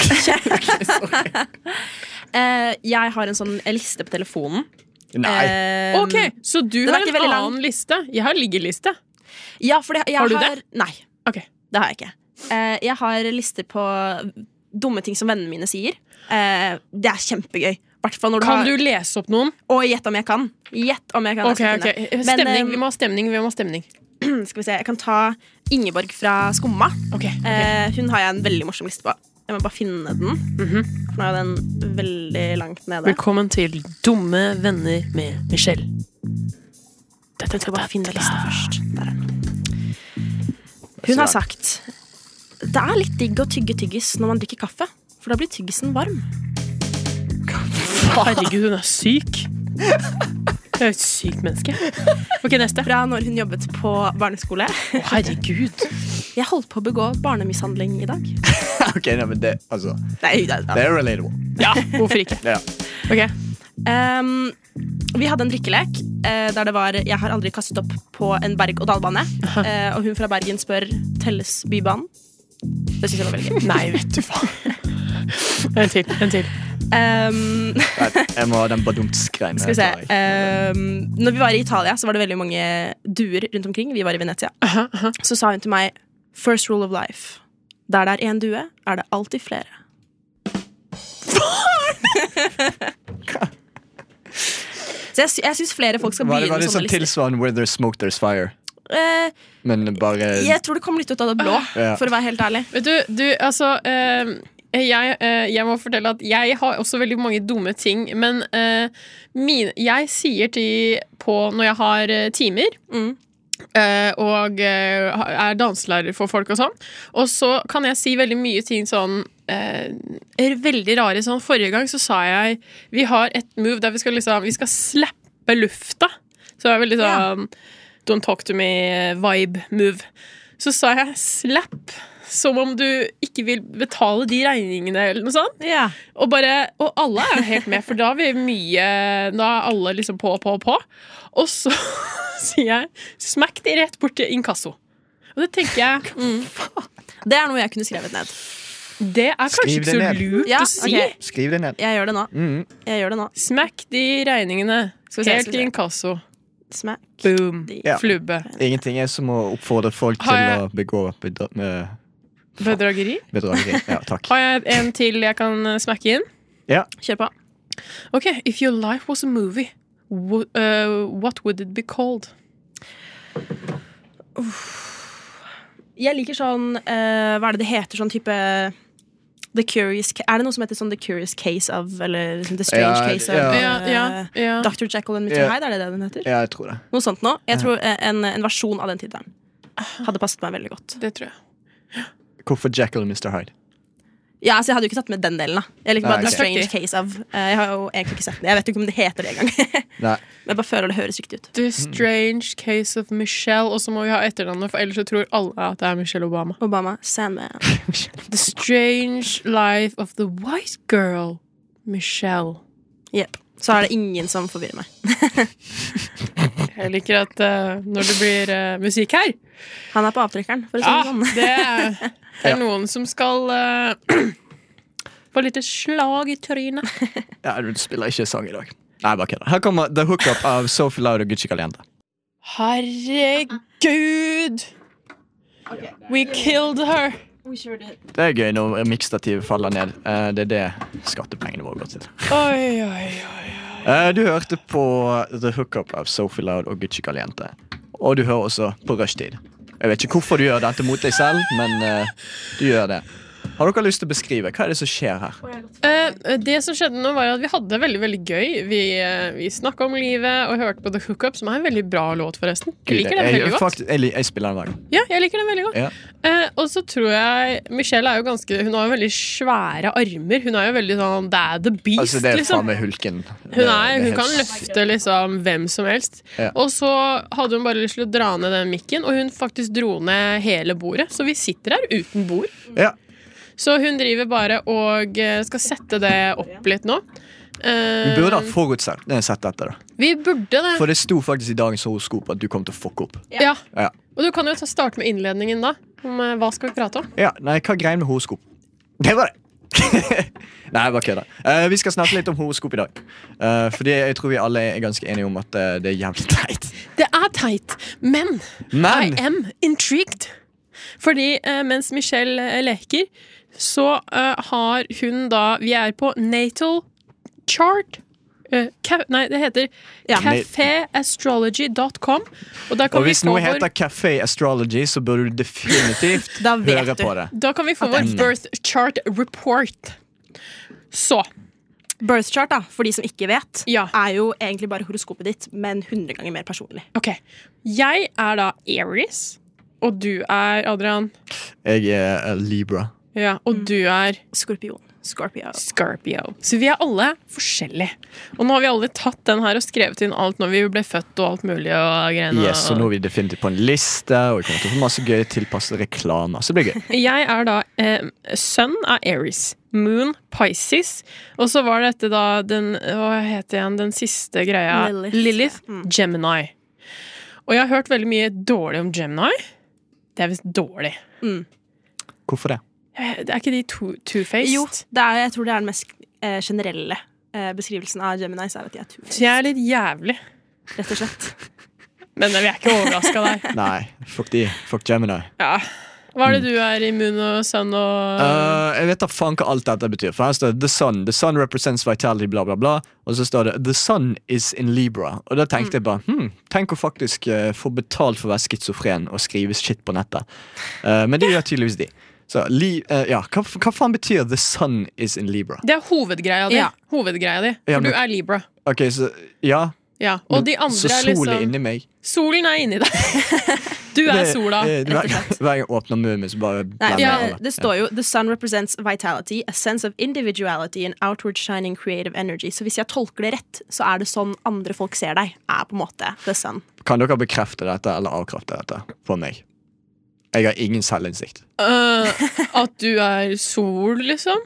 E: Eh, jeg har en sånn liste på telefonen.
C: Nei.
E: Eh,
F: Ok, så du
E: Den er
F: har
E: ikke
F: en
E: veldig
F: annen
E: lang.
F: liste? Jeg har liggeliste.
E: Ja, for det, jeg
F: Har du det?
E: Nei,
F: Ok,
E: det har jeg ikke. Eh, jeg har lister på dumme ting som vennene mine sier. Eh, det er kjempegøy. Hvertfall når
F: Kan
E: du
F: du
E: har
F: lese opp noen?
E: Og gjett om jeg kan. Gjett om jeg kan. jeg
F: Ok,
E: skal
F: ok.
E: finne. Men,
F: Stemning.
E: eh,
F: Vi må ha stemning. Vi må ha stemning.
E: Skal vi se, Jeg kan ta Ingeborg fra Skumma.
F: Ok, ok.
E: Eh, hun har jeg en veldig morsom liste på. Jeg må bare finne den.
F: Mhm.
E: For nå er jo den veldig langt nede.
F: Velkommen til Dumme venner med Michelle.
E: Jeg skal bare finne lista først. Der er den. Hun har sagt Det er litt digg å tygge tyggis når man drikker kaffe, for da blir tyggisen varm.
F: Herregud, hun er syk. Hun er et sykt menneske. Ok, neste.
E: Fra når hun jobbet på barneskole.
F: Å, herregud.
E: Jeg holdt på å begå barnemishandling i dag.
C: Ok, nei, men det, altså,
E: Nei, det,
C: det er relatable.
F: Ja, hvorfor ikke?
C: Ja.
F: Ok.
E: Ehm, vi hadde en drikkelek eh, der det var 'Jeg har aldri kastet opp på en berg-og-dal-bane'. Eh, og hun fra Bergen spør 'Telles Bybanen'? Det syns jeg var veldig gøy.
F: Nei, vet du faen. En til. En til.
E: Ehm,
C: Nei, jeg må ha den badumtsk-greiene.
E: skal vi se eh,
C: der.
E: um, Når vi var i Italia, så var det veldig mange duer rundt omkring. Vi var i Venezia. Så sa hun til meg 'First rule of life'. Der det er én due, er det alltid flere. Så jeg, sy- jeg syns flere folk skal
C: Var det,
E: begynne
C: var
E: med
C: det sånn
E: sånne lister.
C: tilsvarende Where there's smoke, there's fire?
E: Eh,
C: Men bare
E: Jeg tror det kom litt ut av det blå,
C: Ja.
E: for å være helt ærlig.
F: Vet du, du altså eh, Eh, Jeg, eh, jeg må fortelle at jeg har også veldig mange dumme ting, men eh, mine, jeg sier til på når jeg har eh, timer
E: Mm.
F: eh, og eh, ha- er danselærer for folk og sånn, og så kan jeg si veldig mye ting sånn eh, er Veldig rare sånn. Forrige gang så sa jeg vi har et move der vi skal liksom Vi skal slappe lufta. Så det er veldig sånn Don't talk to me-vibe-move. Så sa jeg slapp, som om du ikke vil betale de regningene eller noe sånt.
E: Ja.
F: Og, bare, og alle er jo helt med, for da er vi mye Da er alle liksom på, på, på. Og så sier jeg smekk de rett bort til inkasso. Og det tenker jeg mm,
E: Det er noe jeg kunne skrevet ned.
F: Det er kanskje
C: Skriv
F: ikke
C: det
F: så
C: ned.
F: lurt
E: Ja,
F: å si.
E: ok.
C: Skriv det ned.
E: Jeg gjør det nå.
C: Mm.
E: Jeg gjør det nå.
F: Smekk de regningene
E: Skal vi se,
F: helt
E: skal vi
F: til
E: se.
F: inkasso.
E: Smack.
F: Boom.
E: De-
C: Ja.
F: Flubbe.
C: Ingenting er som å oppfordre folk
F: Har jeg-
C: til å begå bedra med
F: Bedrageri.
C: bedrageri. Ja, takk.
F: Har jeg en til jeg kan eh, smekke inn?
C: Ja.
F: Kjør på. Ok, If your life was a movie, wh- eh, what would it be called?
E: Jeg liker sånn eh, Hva er det det heter? Sånn type The Curious Ca- Er det noe som heter sånn The Curious Case of Eller liksom The Strange
C: Ja,
E: Case of
C: ja.
F: Ja, ja,
E: eh,
F: ja.
E: Dr. Jekyll and Mr.
C: Ja.
E: Hyde, er det det den heter?
C: Ja, jeg tror det.
E: Noe sånt nå. Jeg tror eh, en, en versjon av den tittelen hadde passet meg veldig godt.
F: Det tror jeg.
C: Hvorfor Jackal og Mr. Hyde?
E: Ja, altså Jeg hadde jo ikke tatt med den delen. da Jeg likte bare
C: Nei,
E: The
C: ok.
E: Strange Case of Eh, Jeg har jo egentlig ikke sett den. Jeg vet jo ikke om det heter det engang.
C: Nei.
E: Men jeg bare føler det høres riktig ut.
F: The Strange Case of Michelle, og så må vi ha etternavnet, for ellers så tror alle at det er Michelle Obama.
E: Obama, Sandman.
F: The Strange Life of the White Girl, Michelle.
E: Yep. Så er det ingen som forvirrer meg.
F: Jeg liker at eh, når det blir eh, musikk her
E: Han er på avtrekkeren, for å si
F: Ja,
E: det sånn.
F: det er, det
C: Ja.
F: er noen som skal eh, få litt slag i trynet.
C: Ja, du spiller ikke sang i dag. Nei, bare kødder. Her kommer The Hookup av Sophie Loud og Gucci Caliente.
F: Herregud! We killed her.
C: Det er gøy når miksstativet faller ned. Eh, Det er det skattepengene våre går til.
F: Oi, oi, oi.
C: Eh, Du hørte på The Hookup av Sophie Loud og Gucci Caliente. Og du hører også på Rushtid. Jeg vet ikke hvorfor du gjør dette mot deg selv, men eh, du gjør det. Har dere lyst til å beskrive? Hva er det som skjer her?
F: Eh, det som skjedde nå, var at vi hadde det veldig veldig gøy. Vi, uh, vi snakka om livet og hørte på The Hookup, som er en veldig bra låt, forresten. Jeg liker den
C: jeg,
F: veldig godt.
C: fakt- jeg, li- jeg spiller den hver gang.
F: Ja, jeg liker den veldig godt.
C: Ja.
F: Eh, og så tror jeg Michelle er jo ganske Hun har jo veldig svære armer. Hun er jo veldig sånn Det er the beast,
C: Altså, det er faen
F: liksom.
C: meg hulken.
F: Hun, er, hun kan
C: helt-
F: løfte liksom hvem som helst.
C: Ja.
F: Og så hadde hun bare lyst til å dra ned den mikken, og hun faktisk dro ned hele bordet. Så vi sitter her uten bord.
C: Ja.
F: Så hun driver bare og eh, skal sette det opp litt nå.
C: Vi
F: Eh,
C: burde ha forutsett nei, sett dette, da.
F: vi burde det.
C: For det sto faktisk i dagens horoskop at du kom til å fucke opp.
F: Ja.
C: Ja.
F: Og du kan jo ta starte med innledningen, da. Om, eh, hva skal vi prate om?
C: Ja, nei, hva er greien med horoskop? Det var det! nei, jeg bare kødder. Eh, vi skal snakke litt om horoskop i dag. Eh, fordi jeg tror vi alle er ganske enige om at eh, det er jævlig teit.
F: Det er teit, men
C: Men
F: I am intrigued. Fordi eh, mens Michelle eh, leker, så eh, har hun da Vi er på natal chart. Eh, ca- nei, det heter
E: Ja.
F: caféastrology.com. Og, der kan
C: og
F: vi
C: hvis
F: få
C: noe
F: vår-
C: heter Café Astrology, så bør du definitivt
E: Da vet
C: høre
E: du.
C: på det.
F: Da kan vi få vår birth chart report. Så
E: Birth chart, da, for de som ikke vet,
F: Ja.
E: er jo egentlig bare horoskopet ditt, men 100 ganger mer personlig.
F: OK. Jeg er da Aries, og du er Adrian.
C: Jeg er eh, Libra.
F: Ja, og du er
E: Skorpion. Scorpio.
F: Scorpio. Så vi er alle forskjellige. Og nå har vi alle tatt den her og skrevet inn alt når vi ble født og alt mulig. og greiene.
C: Yes, og nå er vi definitivt på en liste, og vi kommer til å få masse gøy tilpassede reklamer. Så det blir gøy.
F: Jeg er da eh, sønn av Aries. Moon Pisces. Og så var dette da den hva heter igjen, den siste greia.
E: Lilith. Mm.
F: Gemini. Og jeg har hørt veldig mye dårlig om Gemini. Det er visst dårlig.
C: Hvorfor det?
F: Eh, Det er ikke de to- two-faced?
E: Jo, det er, jeg tror det er den mest eh, generelle eh, beskrivelsen av Geminis, er at de er tur,
F: Så jeg er litt jævlig.
E: rett og slett.
F: Men vi er ikke overraska der.
C: Nei, fuck de. Fuck Gemini.
F: Ja. Hva er det du er i Moon og sønn og
C: Eh, jeg vet da faen hva alt dette betyr. For her står det The Sun. The Sun represents vitality, bla, bla, bla. Og så står det The Sun is in Libra. Og da tenkte jeg bare hm, Tenk å faktisk eh, få betalt for å være schizofren og skrive shit på nettet. Eh, men det gjør tydeligvis de. Så, li, eh, ja, hva, f- hva faen betyr 'the sun is in Libra'?
F: Det er hovedgreia di.
E: Ja.
F: Hovedgreia di.
C: Ja,
F: For
C: men-
F: du er Libra.
C: Ok, så ja
F: Ja. Og
C: men-
F: de andre
C: Så
F: er
C: solen er
F: liksom
C: inni meg.
F: Solen er inni deg. Du er
C: Det-
F: sola.
C: eh, hver,
E: rett og slett.
C: hver gang jeg åpner munnen min, så bare
E: Nei,
C: blander
E: ja,
C: alle.
E: det står jo The sun represents vitality, a sense of individuality and outward shining creative energy. Så hvis jeg tolker det rett, så er det sånn andre folk ser deg. Er på en måte the sun.
C: Kan dere bekrefte dette eller avkrefte dette for meg? Jeg har ingen selvinnsikt.
F: Øh, at du er sol, liksom?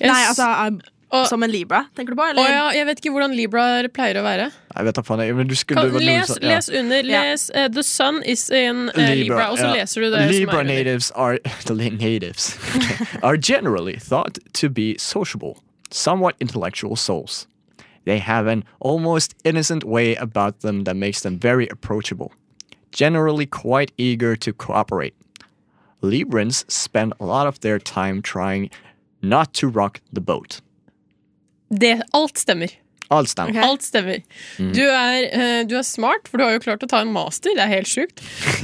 F: Jeg
E: Nei,
F: s-
E: altså er,
F: Og-
E: Som en libra, tenker du på?
F: Å
E: Eller?
F: ja, jeg vet ikke hvordan Libra pleier å være.
C: Jeg vet da faen jeg, men du skulle,
F: Kan,
C: det var noe
F: les,
C: sånn- ja.
F: les under.
E: Ja.
F: Les eh, 'The Sun is in eh, Libra', og så
C: ja.
F: leser du det. som
C: Libra
F: er under.
C: natives are the natives are generally thought to be sociable, somewhat intellectual souls. They have an almost innocent way about them that makes them very approachable, generally quite eager to cooperate. Librans spend a lot of their time trying not to rock the boat.
F: Det, alt stemmer.
C: Alt stemmer.
E: Ok.
F: Alt stemmer.
C: Mm.
F: Du, er, eh, du er smart, for du har jo klart å ta en master. Det er helt sjukt.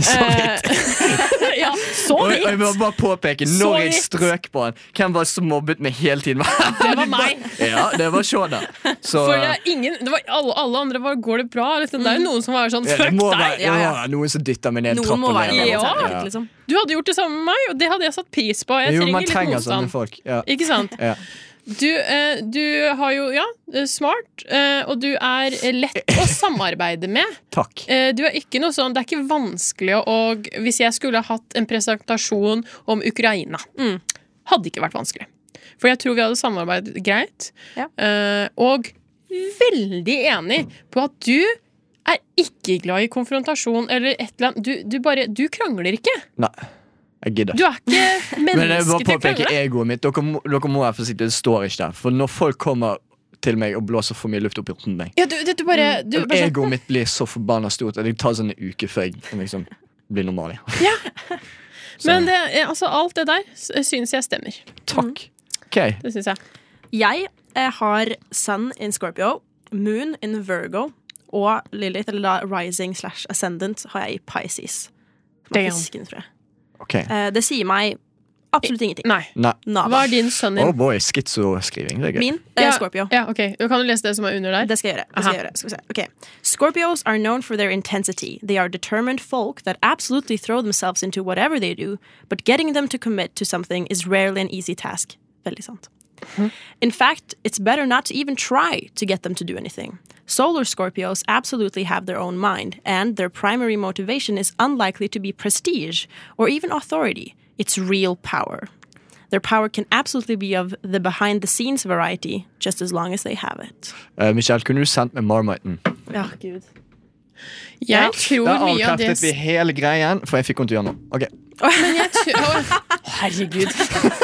C: Så vidt.
F: Eh, ja, så
C: Og jeg- og jeg må
F: vidt!
C: bare påpeke,
F: Så
C: når jeg
F: vidt.
C: strøk på han, hvem var det som mobbet meg hele tiden?
F: Det var meg.
C: ja, det var Shona. Så,
F: For det er ingen det var, alle, alle andre var 'går det bra'? Liksom. Det er jo noen som var sånn
C: Ja,
F: 'fuck
C: det må
F: deg'.
C: være det må være noen som dytter meg ned
E: Noen
C: trappen.
E: må være
C: der,
E: det.
F: Ja.
C: eller noe
E: Ja.
C: sånt.
E: Liksom.
F: Du hadde gjort det samme med meg, og det hadde jeg satt pris på. Jeg
C: Jo,
F: trenger
C: man
F: litt
C: trenger sånne
F: motstand.
C: folk. Ja.
F: Ikke sant?
C: Ja.
F: Du, eh, du har jo Ja, eh, smart, eh, og du er eh, lett å samarbeide med.
C: Takk.
F: Eh, Du er ikke noe sånn, Det er ikke vanskelig å og Hvis jeg skulle ha hatt en presentasjon om Ukraina,
E: Mm.
F: hadde ikke vært vanskelig. For jeg tror vi hadde samarbeidet greit.
E: Ja.
F: Eh, og veldig enig på at du er ikke glad i konfrontasjon eller et eller annet. Du, du bare Du krangler ikke.
C: Nei, jeg gidder.
F: Du er ikke
C: Men jeg e-
F: menneske
C: bare
F: til å
C: påpeker
F: krangle.
C: egoet mitt. Dere må, dere må være forsiktige, det står ikke der. For når folk kommer til meg og blåser for mye luft opp i rumpen meg,
F: Ja, du, du, du bare,
C: Mm,
F: du, bare sånn,
C: egoet mitt blir så forbanna stort at det tar sånn en uke før jeg liksom blir normal igjen. Så,
F: Men det, eh, altså, alt det der s- synes jeg stemmer.
C: takk. Ok,
F: Det synes jeg.
E: Jeg eh, har Sun in Scorpio, Moon in Virgo og Lilith, eller da Rising slash Ascendant, har jeg i Pisces. Som er
F: Damn.
E: Fisken, tror jeg.
C: ok.
E: Eh, det sier meg absolutt ingenting.
F: Nei.
C: Nei.
E: Nada.
F: Hva er din sønn din?
C: Oh boy, skizoskriving. Det er gøy.
E: Min eh,
F: Ja,
E: Scorpio.
F: Ja, ok. Kan du lese det som er under der?
E: Det skal jeg gjøre. Det skal jeg gjøre. Skal vi se. Ok. Scorpios are known for their intensity. They are determined folk that absolutely throw themselves into whatever they do, but getting them to commit to something is rarely an easy task. Veldig sant. In fact, it's better not to even try to get them to do anything. Solar Scorpios absolutely have their own mind, and their primary motivation is unlikely to be prestige or even authority. It's real power. Their power can absolutely be of the behind the scenes variety, just as long as they have it.
C: Eh, Michelle, kunne du sendt meg Marmiten?
E: Ja, gud.
F: Jeg tror
C: Da
F: mye av det
C: avkreftet vi hele greien, for jeg fikk henne til å gjøre noe. Ok,
F: jeg tror- Herregud.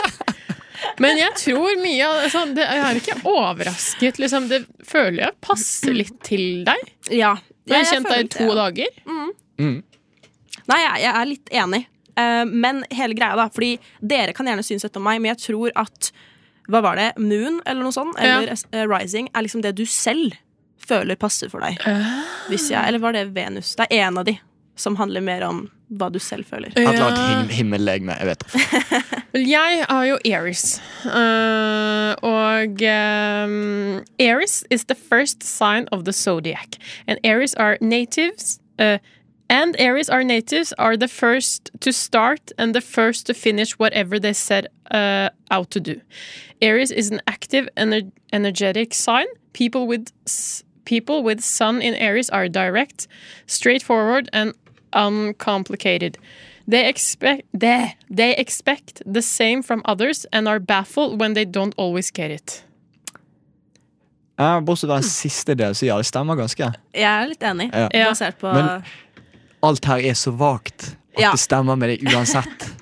F: Men jeg tror mye av altså, det Jeg er ikke overrasket, liksom. Det føler jeg passer litt til deg.
E: Ja.
F: Jeg har kjent deg i to dager.
E: Nei, jeg, jeg er litt enig. Eh, men hele greia, da. Fordi dere kan gjerne synes dette om meg, men jeg tror at Hva var det? Moon, eller noe sånt? Eller eh, Rising? Er liksom det du selv føler passer for deg.
F: Ah.
E: Hvis jeg, eller var det Venus? Det er én av de som handler mer om hva du selv føler.
F: Eh.
C: Et eller annet
F: Ja.
C: him himmellegeme. Jeg vet ikke.
F: Vel, Jeg er jo Aries. Eh, og ehm, Aries is the first sign of the zodiac. And Aries are natives. eh, and Aries are natives are the first to start and the first to finish whatever they set uh, out to do. Aries is an active, ener energetic sign. People with s people with sun in Aries are direct, straightforward, and uncomplicated. They expect they, they expect the same from others and are baffled when they don't always get it.
C: Ja, bortsett fra den siste delen, så ja, det stemmer ganske.
E: Jeg er litt enig,
C: Ja.
F: Ja.
E: basert på
C: Men- Alt her er så vagt at
E: Ja.
C: det stemmer med det uansett.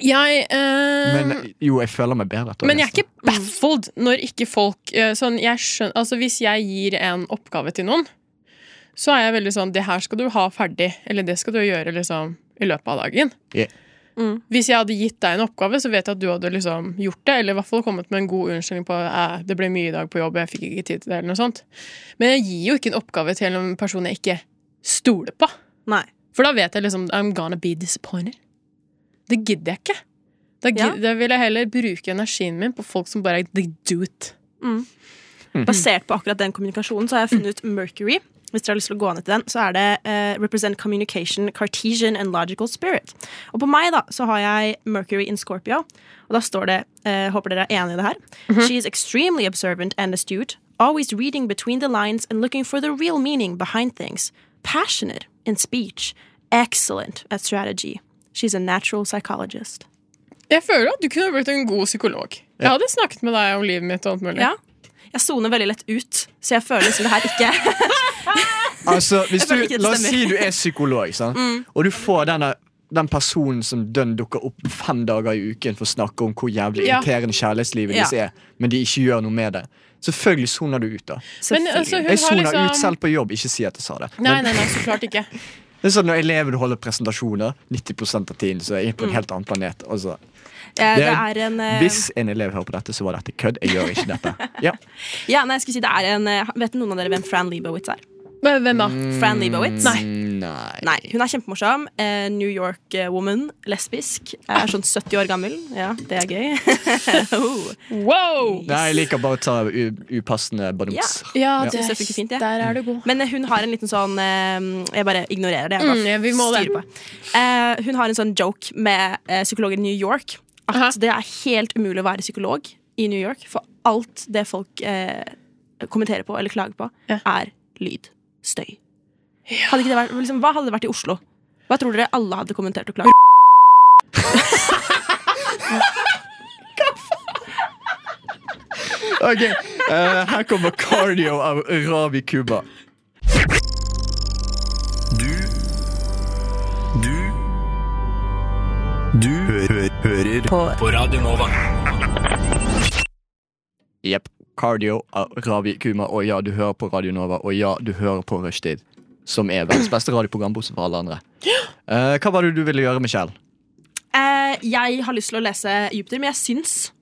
F: Jeg eh,
C: Men jo, jeg føler meg bedre. etter å
F: Men jeg
C: lese
F: er ikke baffled når ikke folk eh, sånn, jeg skjønner, altså Hvis jeg gir en oppgave til noen, så er jeg veldig sånn Det her skal du ha ferdig, eller det skal du gjøre liksom, i løpet av dagen.
C: Ja.
E: Mm.
F: Hvis jeg hadde gitt deg en oppgave, så vet jeg at du hadde liksom gjort det. Eller i hvert fall kommet med en god unnskyldning på eh, det ble mye i dag på jobb. jeg fikk ikke tid til det, eller noe sånt. Men jeg gir jo ikke en oppgave til en person jeg ikke stoler på.
E: Nei.
F: For da vet jeg liksom I'm gonna be disappointed. Det gidder jeg ikke. Da, gi-
E: Ja.
F: da vil jeg heller bruke energien min på folk som bare they do it. Mm.
E: Basert på akkurat den kommunikasjonen så har jeg funnet ut Mercury. Hvis dere har lyst til å gå ned til den, så er det eh, Represent Communication, Cartesian and Logical Spirit. Og på meg da, så har jeg Mercury in Scorpio, og da står det eh, Håper dere er enig i det her.
F: Mhm.
E: She is extremely observant and astute, always reading between the lines and looking for the real meaning behind things. Passionate in speech, excellent at strategy. She's a natural psychologist.
F: Jeg føler at du kunne blitt en god psykolog. Jeg hadde snakket med deg om livet mitt og alt mulig.
E: Ja. Jeg soner veldig lett ut, så jeg føler liksom det her ikke
C: Altså, hvis du,
E: føler ikke det
C: La oss
E: stemmer.
C: si du er psykolog, sant?
F: Mm.
C: og du får denne, den personen som dønn dukker opp fem dager i uken for å snakke om hvor jævlig
F: Ja.
C: irriterende kjærlighetslivet
E: Ja.
C: deres er, men de ikke gjør noe med det. Selvfølgelig soner du ut, da.
F: Men altså, hun
C: Jeg
F: har
C: soner
F: liksom
C: ut selv på jobb. Ikke si at jeg sa det.
F: Nei,
C: Men
F: nei, nei, så klart ikke.
C: det er sånn når elever du holder presentasjoner, 90 av tiden så er jeg
F: Mm.
C: på en helt annen planet. Altså,
E: Eh,
C: Det
E: Det
C: er-
E: er en eh,
C: hvis en elev hører på dette, så var dette kødd. Jeg gjør ikke dette. Ja.
E: Ja, nei, jeg skulle si det er en eh, Vet noen av dere hvem Fran Lebowitz er?
F: Men Hvem da?
C: Mm.
E: Fran Lebowitz? Nei.
C: Nei.
E: Hun er kjempemorsom. Eh, New York-woman. Lesbisk. Er sånn 70 år gammel. Ja, det er gøy. oh.
F: Wow!
C: Nei, jeg liker bare å ta u upassende banums. Ja.
F: Ja, det,
E: Synes jeg funker fint, jeg.
F: Der er du god.
E: Men eh, hun har en liten sånn eh, Jeg bare ignorerer det. Jeg bare
F: Mm, ja, vi må det.
E: styrer på. Eh, hun har en sånn joke med eh, psykologer i New York at
F: Aha.
E: det er helt umulig å være psykolog i New York, for alt det folk eh, kommenterer på eller klager på,
F: Ja.
E: er lyd. Støy. Hadde ikke det vært, liksom, hva hadde det vært i Oslo? Hva tror dere alle hadde kommentert og klaget?
C: Ok, eh, Her kommer Cardio av Ravi Cuba.
G: Du Du Du hø hø hører på. Radio Nova.
C: Jepp. Cardio av Ravi Kuma. Og ja, du hører på Radio Nova. Og ja, du hører på Rushtid. Som er verdens beste radioprogram, bortsett fra alle andre. Eh, hva var det du ville gjøre, Michelle?
E: Eh, jeg har lyst til å lese Jupiter, men jeg syns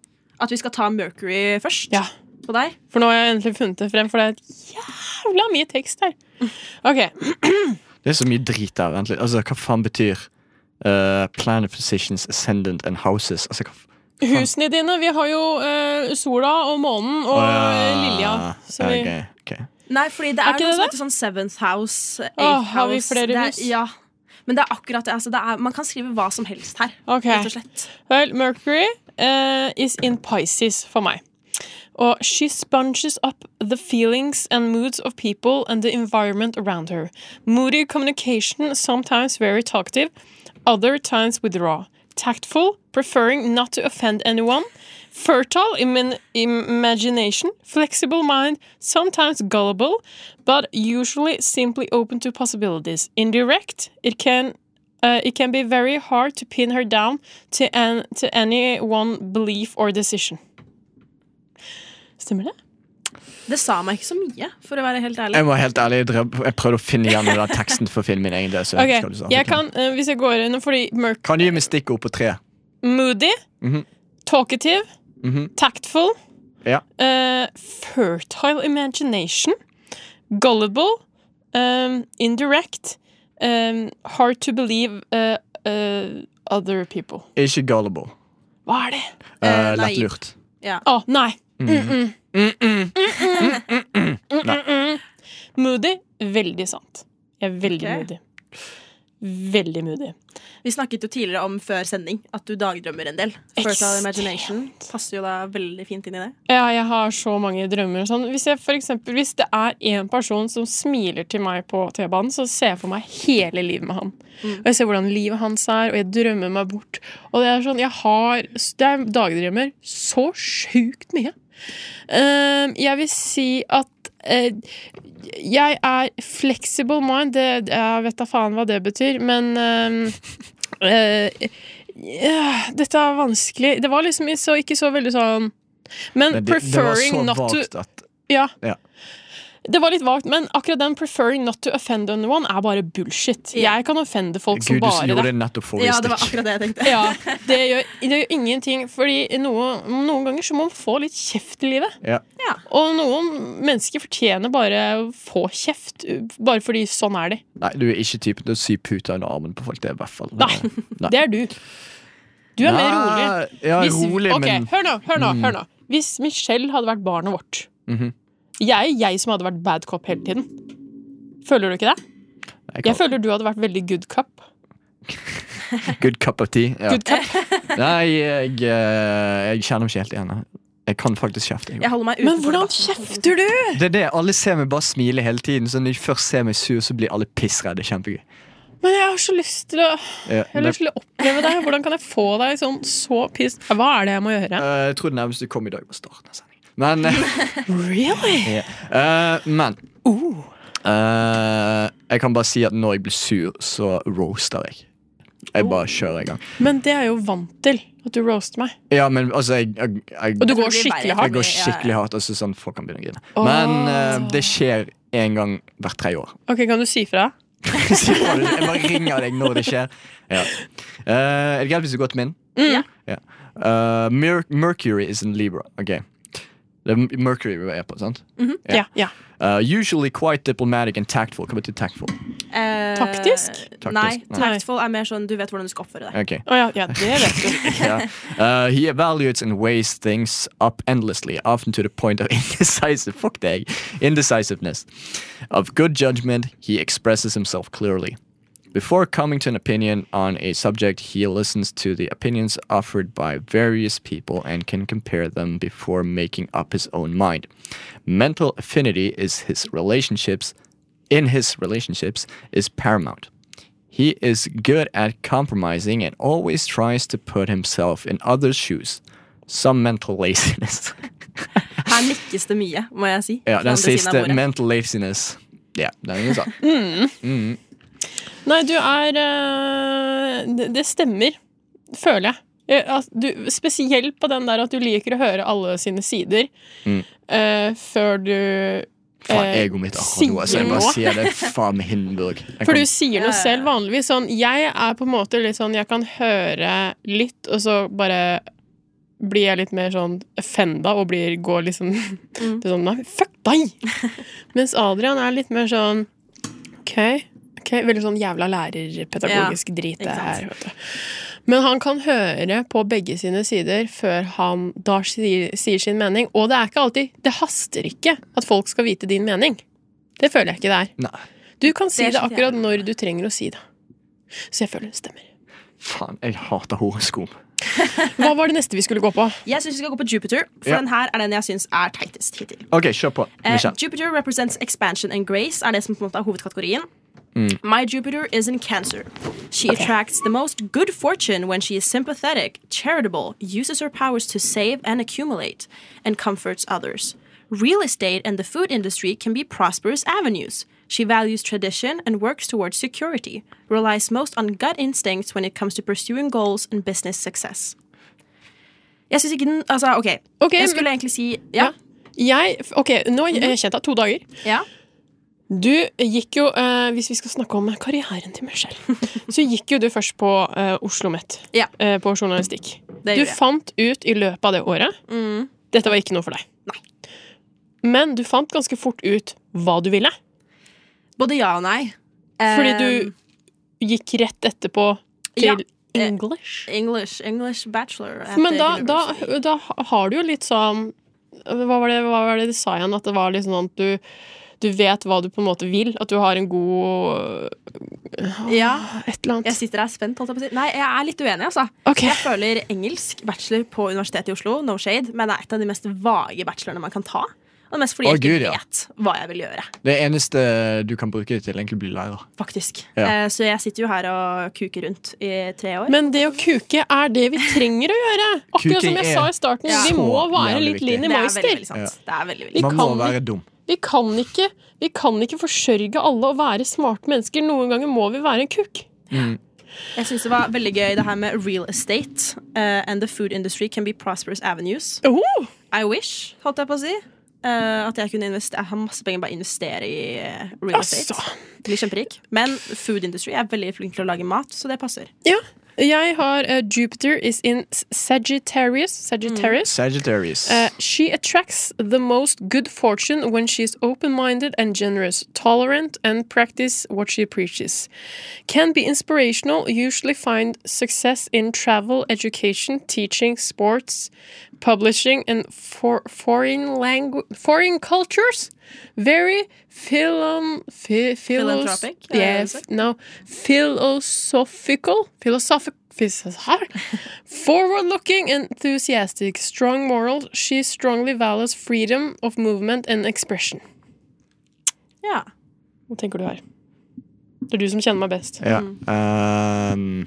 E: at vi skal ta Mercury først.
F: Ja.
E: På deg.
F: For nå har jeg endelig funnet det frem, for det er et jævla mye tekst her. Ok,
C: Det er så mye drit der. Vent litt. Altså, hva faen betyr eh, planet positions, ascendant and houses? Altså, hva f-
F: Husene dine. Vi har jo eh, sola og månen og eh, lilja. Så vi,
C: Ja, Ah, ok, ok.
E: Nei, fordi det
F: Er
E: er,
F: ikke
E: noe
F: det
E: som
F: det?
E: heter sånn Seventh House, Eighth
F: Åh, har vi
E: House.
F: flere
E: det er,
F: hus?
E: Ja. Men det er akkurat det. Altså, det er, man kan skrive hva som helst her.
F: Ok.
E: Rett og slett.
F: Well, Mercury eh, is in Pisces for meg. Og she sponges up the feelings and moods of people and the environment around her. Moody communication, sometimes very talkative, other times withdraw. Tactful, preferring not to offend anyone. Fertile in in imagination, flexible mind, sometimes gullible, but usually simply open to possibilities. Indirect, it can uh, it can be very hard to pin her down to, an, to any one belief or decision. Stemmer det?
E: Det sa meg ikke så mye, for å være helt ærlig.
C: Jeg må være helt ærlig, jeg drev- jeg prøvde å finne igjen den der teksten for å finne min egen del. så jeg
F: Ok,
C: husker hva du sa.
F: jeg kan, eh, Hvis jeg går inn fordi mørk,
C: Kan du gi meg stikkord på tre?
F: Moody,
C: Mhm.
F: talkative,
C: Mhm.
F: tactful,
C: Ja.
F: eh, fertile imagination, gullible, um, indirect, um, hard to believe uh, uh, other people.
C: Ikke gullible.
F: Hva er det?
C: Uh,
E: Eh, naiv.
C: Lettlurt.
F: Å, nei. Mm-mm. Moody, veldig sant. Jeg er veldig
E: Ok.
F: moody. Veldig moody.
E: Vi snakket jo tidligere om før sending at du dagdrømmer en del. Fertile
F: Ekstremt.
E: Imagination passer jo da veldig fint inn i det.
F: Ja, jeg har så mange drømmer. og Sånn. Hvis, jeg, for eksempel, hvis det er en person som smiler til meg på T-banen, så ser jeg for meg hele livet med han. Og Jeg ser hvordan livet hans er, og jeg drømmer meg bort. Og Det er sånn, jeg har det er dagdrømmer så sjukt mye. Ehm, jeg vil si at eh, jeg er flexible mind. Det, jeg vet da faen hva det betyr, men ehm, eh, ja, Dette er vanskelig. Det var liksom så, ikke så veldig sånn men
C: Men det, det var så
F: preferring not to
C: vagt at
F: ja.
C: Ja.
F: Det var litt vagt, men akkurat den 'preferring not to offend anyone' er bare bullshit.
E: Ja.
F: Jeg kan offende folk som
C: Gud, du
F: bare
C: gjorde det
F: det.
C: nettopp forrige
E: Ja, det var
C: stikk.
E: akkurat det jeg tenkte.
F: Ja, det gjør, det gjør ingenting, Fordi noe, noen ganger så må man få litt kjeft i livet.
C: Ja.
E: Ja.
F: Og noen mennesker fortjener bare å få kjeft, bare fordi sånn er de.
C: Nei, du er ikke typen til å sy puter under armen på folk. Det er i hvert fall
F: Nei,
C: Nei.
F: Det er du. Du er mer rolig.
C: Nei, Ja,
F: Hvis-
C: rolig,
F: ok,
C: men
F: Hør nå, hør nå,
C: Mm.
F: hør nå. Hvis Michelle hadde vært barnet vårt
C: Mhm.
F: Jeg er jeg som hadde vært bad cop hele tiden. Føler du ikke
C: jeg
F: det? Jeg
C: kan,
F: føler du hadde vært veldig good cop.
C: Good cup of tea. Ja.
F: Good cop.
C: Nei, jeg, eh, jeg kjenner meg ikke helt igjen. her. Jeg kan faktisk kjefte. jeg.
E: Jeg holder meg
F: Men
E: Eh, utenfor
F: hvordan
E: debatten.
F: kjefter du?
C: Det er det, Alle ser meg bare smile hele tiden, så når de først ser meg sur, så blir alle pissredde. Kjempegøy. Eh,
F: Men jeg har så lyst til å
C: Ja,
F: Jeg har
C: det,
F: lyst til å oppleve deg. Hvordan kan jeg få deg sånn så piss... Hva er det jeg må gjøre?
C: eh, jeg tror det nærmeste kom i dag, var starten av sendingen. Men eh,
F: Really? Oh.
C: Ja. Eh, men Eh, Jeg kan bare si at når jeg blir sur, så roaster jeg. Jeg bare kjører i gang.
F: Men det er jeg jo vant til. At du roaster meg.
C: Ja, men altså Jeg, jeg, jeg,
F: Og du går
E: tror det blir
F: skikkelig
E: verre.
C: jeg
F: hardt.
C: går skikkelig hardt. Altså sånn Folk kan begynne å grine.
F: Åh.
C: Men eh, det skjer én gang hvert tredje år.
F: Ok, Kan du si fra?
C: Så jeg bare ringer deg når det skjer. Ja. Eh, er det greit hvis du går til min?
F: Mm.
C: Eh, Mer Mercury is in Libra. Ok. Det er Mercury vi er på, sant?
F: Ja. ja.
C: Eh, usually quite diplomatic and tactful. Hva betyr tactful?
E: Eh,
F: Taktisk?
E: Nei,
C: Taktisk, nei.
E: tactful er mer sånn du vet hvordan du skal oppføre deg.
C: Ok
F: Å ja, ja, det vet du.
C: yeah. uh, he evaluates and weighs things up endlessly, often to the point of indecisive fuck dang, indecisiveness. Of good judgment, he expresses himself clearly. Before coming to an opinion on a subject, he listens to the opinions offered by various people and can compare them before making up his own mind. Mental affinity is his relationships in his relationships is paramount. He is good at compromising and always tries to put himself in others' shoes. Some mental laziness.
E: Her nikkes det mye, må jeg si.
C: ja,
E: fra
C: den
E: andre siden av
C: siste.
E: bordet.
C: Mental laziness. Ja, den er sant.
F: Eh, Nei, du er eh, det, det stemmer, føler jeg. Eh, at Du, spesielt på den der at du liker å høre alle sine sider
C: Mm.
F: eh, før du
C: Faen,
F: eh,
C: egoet mitt akkurat nå. Så jeg bare sier det. Faen med Hindenburg. Jeg
F: For
C: kan-
F: du sier noe selv vanligvis. Sånn, jeg er på en måte litt sånn Jeg kan høre litt, og så bare blir jeg litt mer sånn offenda og blir, går liksom
E: Mm.
F: til sånn Nei, fuck deg! Mens Adrian er litt mer sånn OK. ok, veldig sånn jævla lærerpedagogisk drit, det
E: ikke sant.
F: her. Vet du. Men han kan høre på begge sine sider før han da sier, sier sin mening. Og det er ikke alltid Det haster ikke at folk skal vite din mening. Det føler jeg ikke det er.
C: Nei,
F: Du kan si
E: Det
F: det,
E: er så
F: akkurat når du trenger å si det. Så jeg føler det stemmer.
C: faen, jeg hater horoskop.
F: Hva var det neste vi skulle gå på?
E: Jeg syns vi skal gå på Jupiter, for
C: Ja.
E: den her er den jeg syns er teitest hittil.
C: Ok, kjør på.
E: Eh,
C: Michelle.
E: Jupiter represents expansion and grace, er det som på en måte er hovedkategorien. My Jupiter is in cancer. She attracts the most good fortune when she is sympathetic, charitable, uses her powers to save and accumulate, and comforts others. Real estate and the food industry can be prosperous avenues. She values tradition and works towards security, relies most on gut instincts when it comes to pursuing goals and business success. Jeg syns ikke den Altså, OK.
F: Ok,
E: jeg
F: men-
E: skulle egentlig si
F: Ja. Jeg, ok, Nå har
E: Mhm.
F: jeg kjent deg to dager.
E: ja.
F: Du gikk jo, eh, Hvis vi skal snakke om karrieren til Michelle, så gikk jo du først på eh, Oslo Met.
E: Ja.
F: Eh, på journalistikk.
E: Det
F: Du
E: gjorde jeg. Mhm.
F: fant ut i løpet av det året Dette var ikke noe for deg.
E: Nei.
F: Men du fant ganske fort ut hva du ville.
E: Både ja og nei.
F: Fordi
E: Um,
F: du gikk rett etterpå
E: Ja.
F: til
E: Eh,
F: English.
E: English, English bachelor. at
F: Men da,
E: the
F: da,
E: university.
F: da har du jo litt sånn Hva var det, hva var det de sa igjen? At det var litt sånn at du, du vet hva du på en måte vil. At du har en god
E: Ja,
F: Et eller
E: jeg
F: annet.
E: sitter her spent. Holdt jeg på å si. Nei, jeg er litt uenig, altså.
F: Ok.
E: Jeg føler engelsk bachelor på Universitetet i Oslo, no shade, men det er et av de mest vage bachelorene man kan ta. Og det mest fordi
C: Å,
E: jeg ikke
C: Gud, ja.
E: vet hva jeg vil gjøre,
C: Det eneste du kan bruke det til, egentlig bli lærer.
E: faktisk.
C: Ja.
E: Eh, så jeg sitter jo her og kuker rundt i tre år.
F: Men det å kuke er det vi trenger å gjøre. Akkurat som
C: Kuking
F: jeg
C: er
F: sa i starten,
E: Ja.
F: vi må
C: så
F: være
C: jævlig
F: litt
C: viktig.
F: Linni
E: det er veldig,
F: Meister.
E: veldig sant.
C: Ja.
E: Det er veldig,
F: Vi
E: veldig sant.
C: Man må
F: kan
C: være dum.
F: Vi kan ikke, vi kan ikke forsørge alle og være smarte mennesker. Noen ganger må vi være en kuk.
E: Jeg syns det var veldig gøy det her med real estate eh, and the food industry can be prosperous avenues.
F: Oh,
E: I wish, holdt jeg på å si. Eh, at jeg kunne investe- Jeg har masse penger bare investere i eh, real estate.
F: altså.
E: Bli kjemperik. Men food industry jeg er veldig flink til å lage mat, så det passer.
F: Ja. Jeg har eh, Jupiter is in Sagittarius. Sagittarius.
C: Sagittarius.
F: Eh, she attracts the most good fortune when she is open-minded and generous, tolerant and practice what she preaches. Can be inspirational, usually find success in travel, education, teaching, sports, publishing and for foreign language foreign cultures. Very philom phi- philos-
E: Philanthropic, uh,
F: Yeah,
E: is it?
F: f- no, philosophical, philosophic, forward looking, enthusiastic, strong morals. She strongly values freedom of movement and expression.
E: Ja.
F: Hva tenker du her? Det er du som kjenner meg best.
C: ja. Ehm,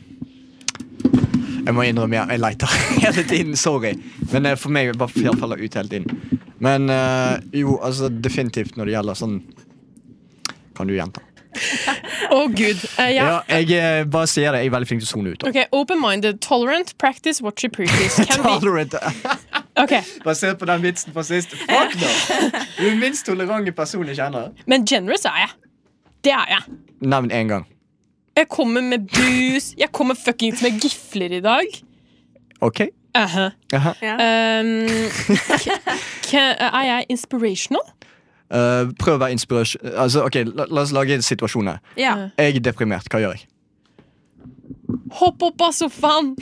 C: jeg må innrømme, ja, jeg leter hele tiden. Sorry. Men eh, for meg bare f- faller ut hele tiden. Men eh, jo, altså definitivt når det gjelder sånn Kan du gjenta?
F: Å, gud. Eh, ja.
C: Ja, jeg eh, bare sier det. Jeg er veldig flink til å sone ut. da.
F: Ok, Open-minded, tolerant, practice what you preaches. Can be.
C: Tolerant.
F: Ok,
C: eh, Basert på den vitsen på sist. Fuck no! Du er den minst tolerante personen jeg kjenner.
F: Men generous er jeg. Det er jeg.
C: Nevn én gang.
F: Jeg kommer med bus, jeg kommer fuckings med gifler i dag. Uh-huh.
C: OK?
F: Aha.
C: Aha.
F: Um, k- k- eh, er jeg inspirational?
C: Eh, prøv å være inspirasjon... Altså, ok, la, la oss lage en situasjon her.
E: ja.
C: Jeg er deprimert. Hva gjør jeg?
F: Hopp opp av sofaen!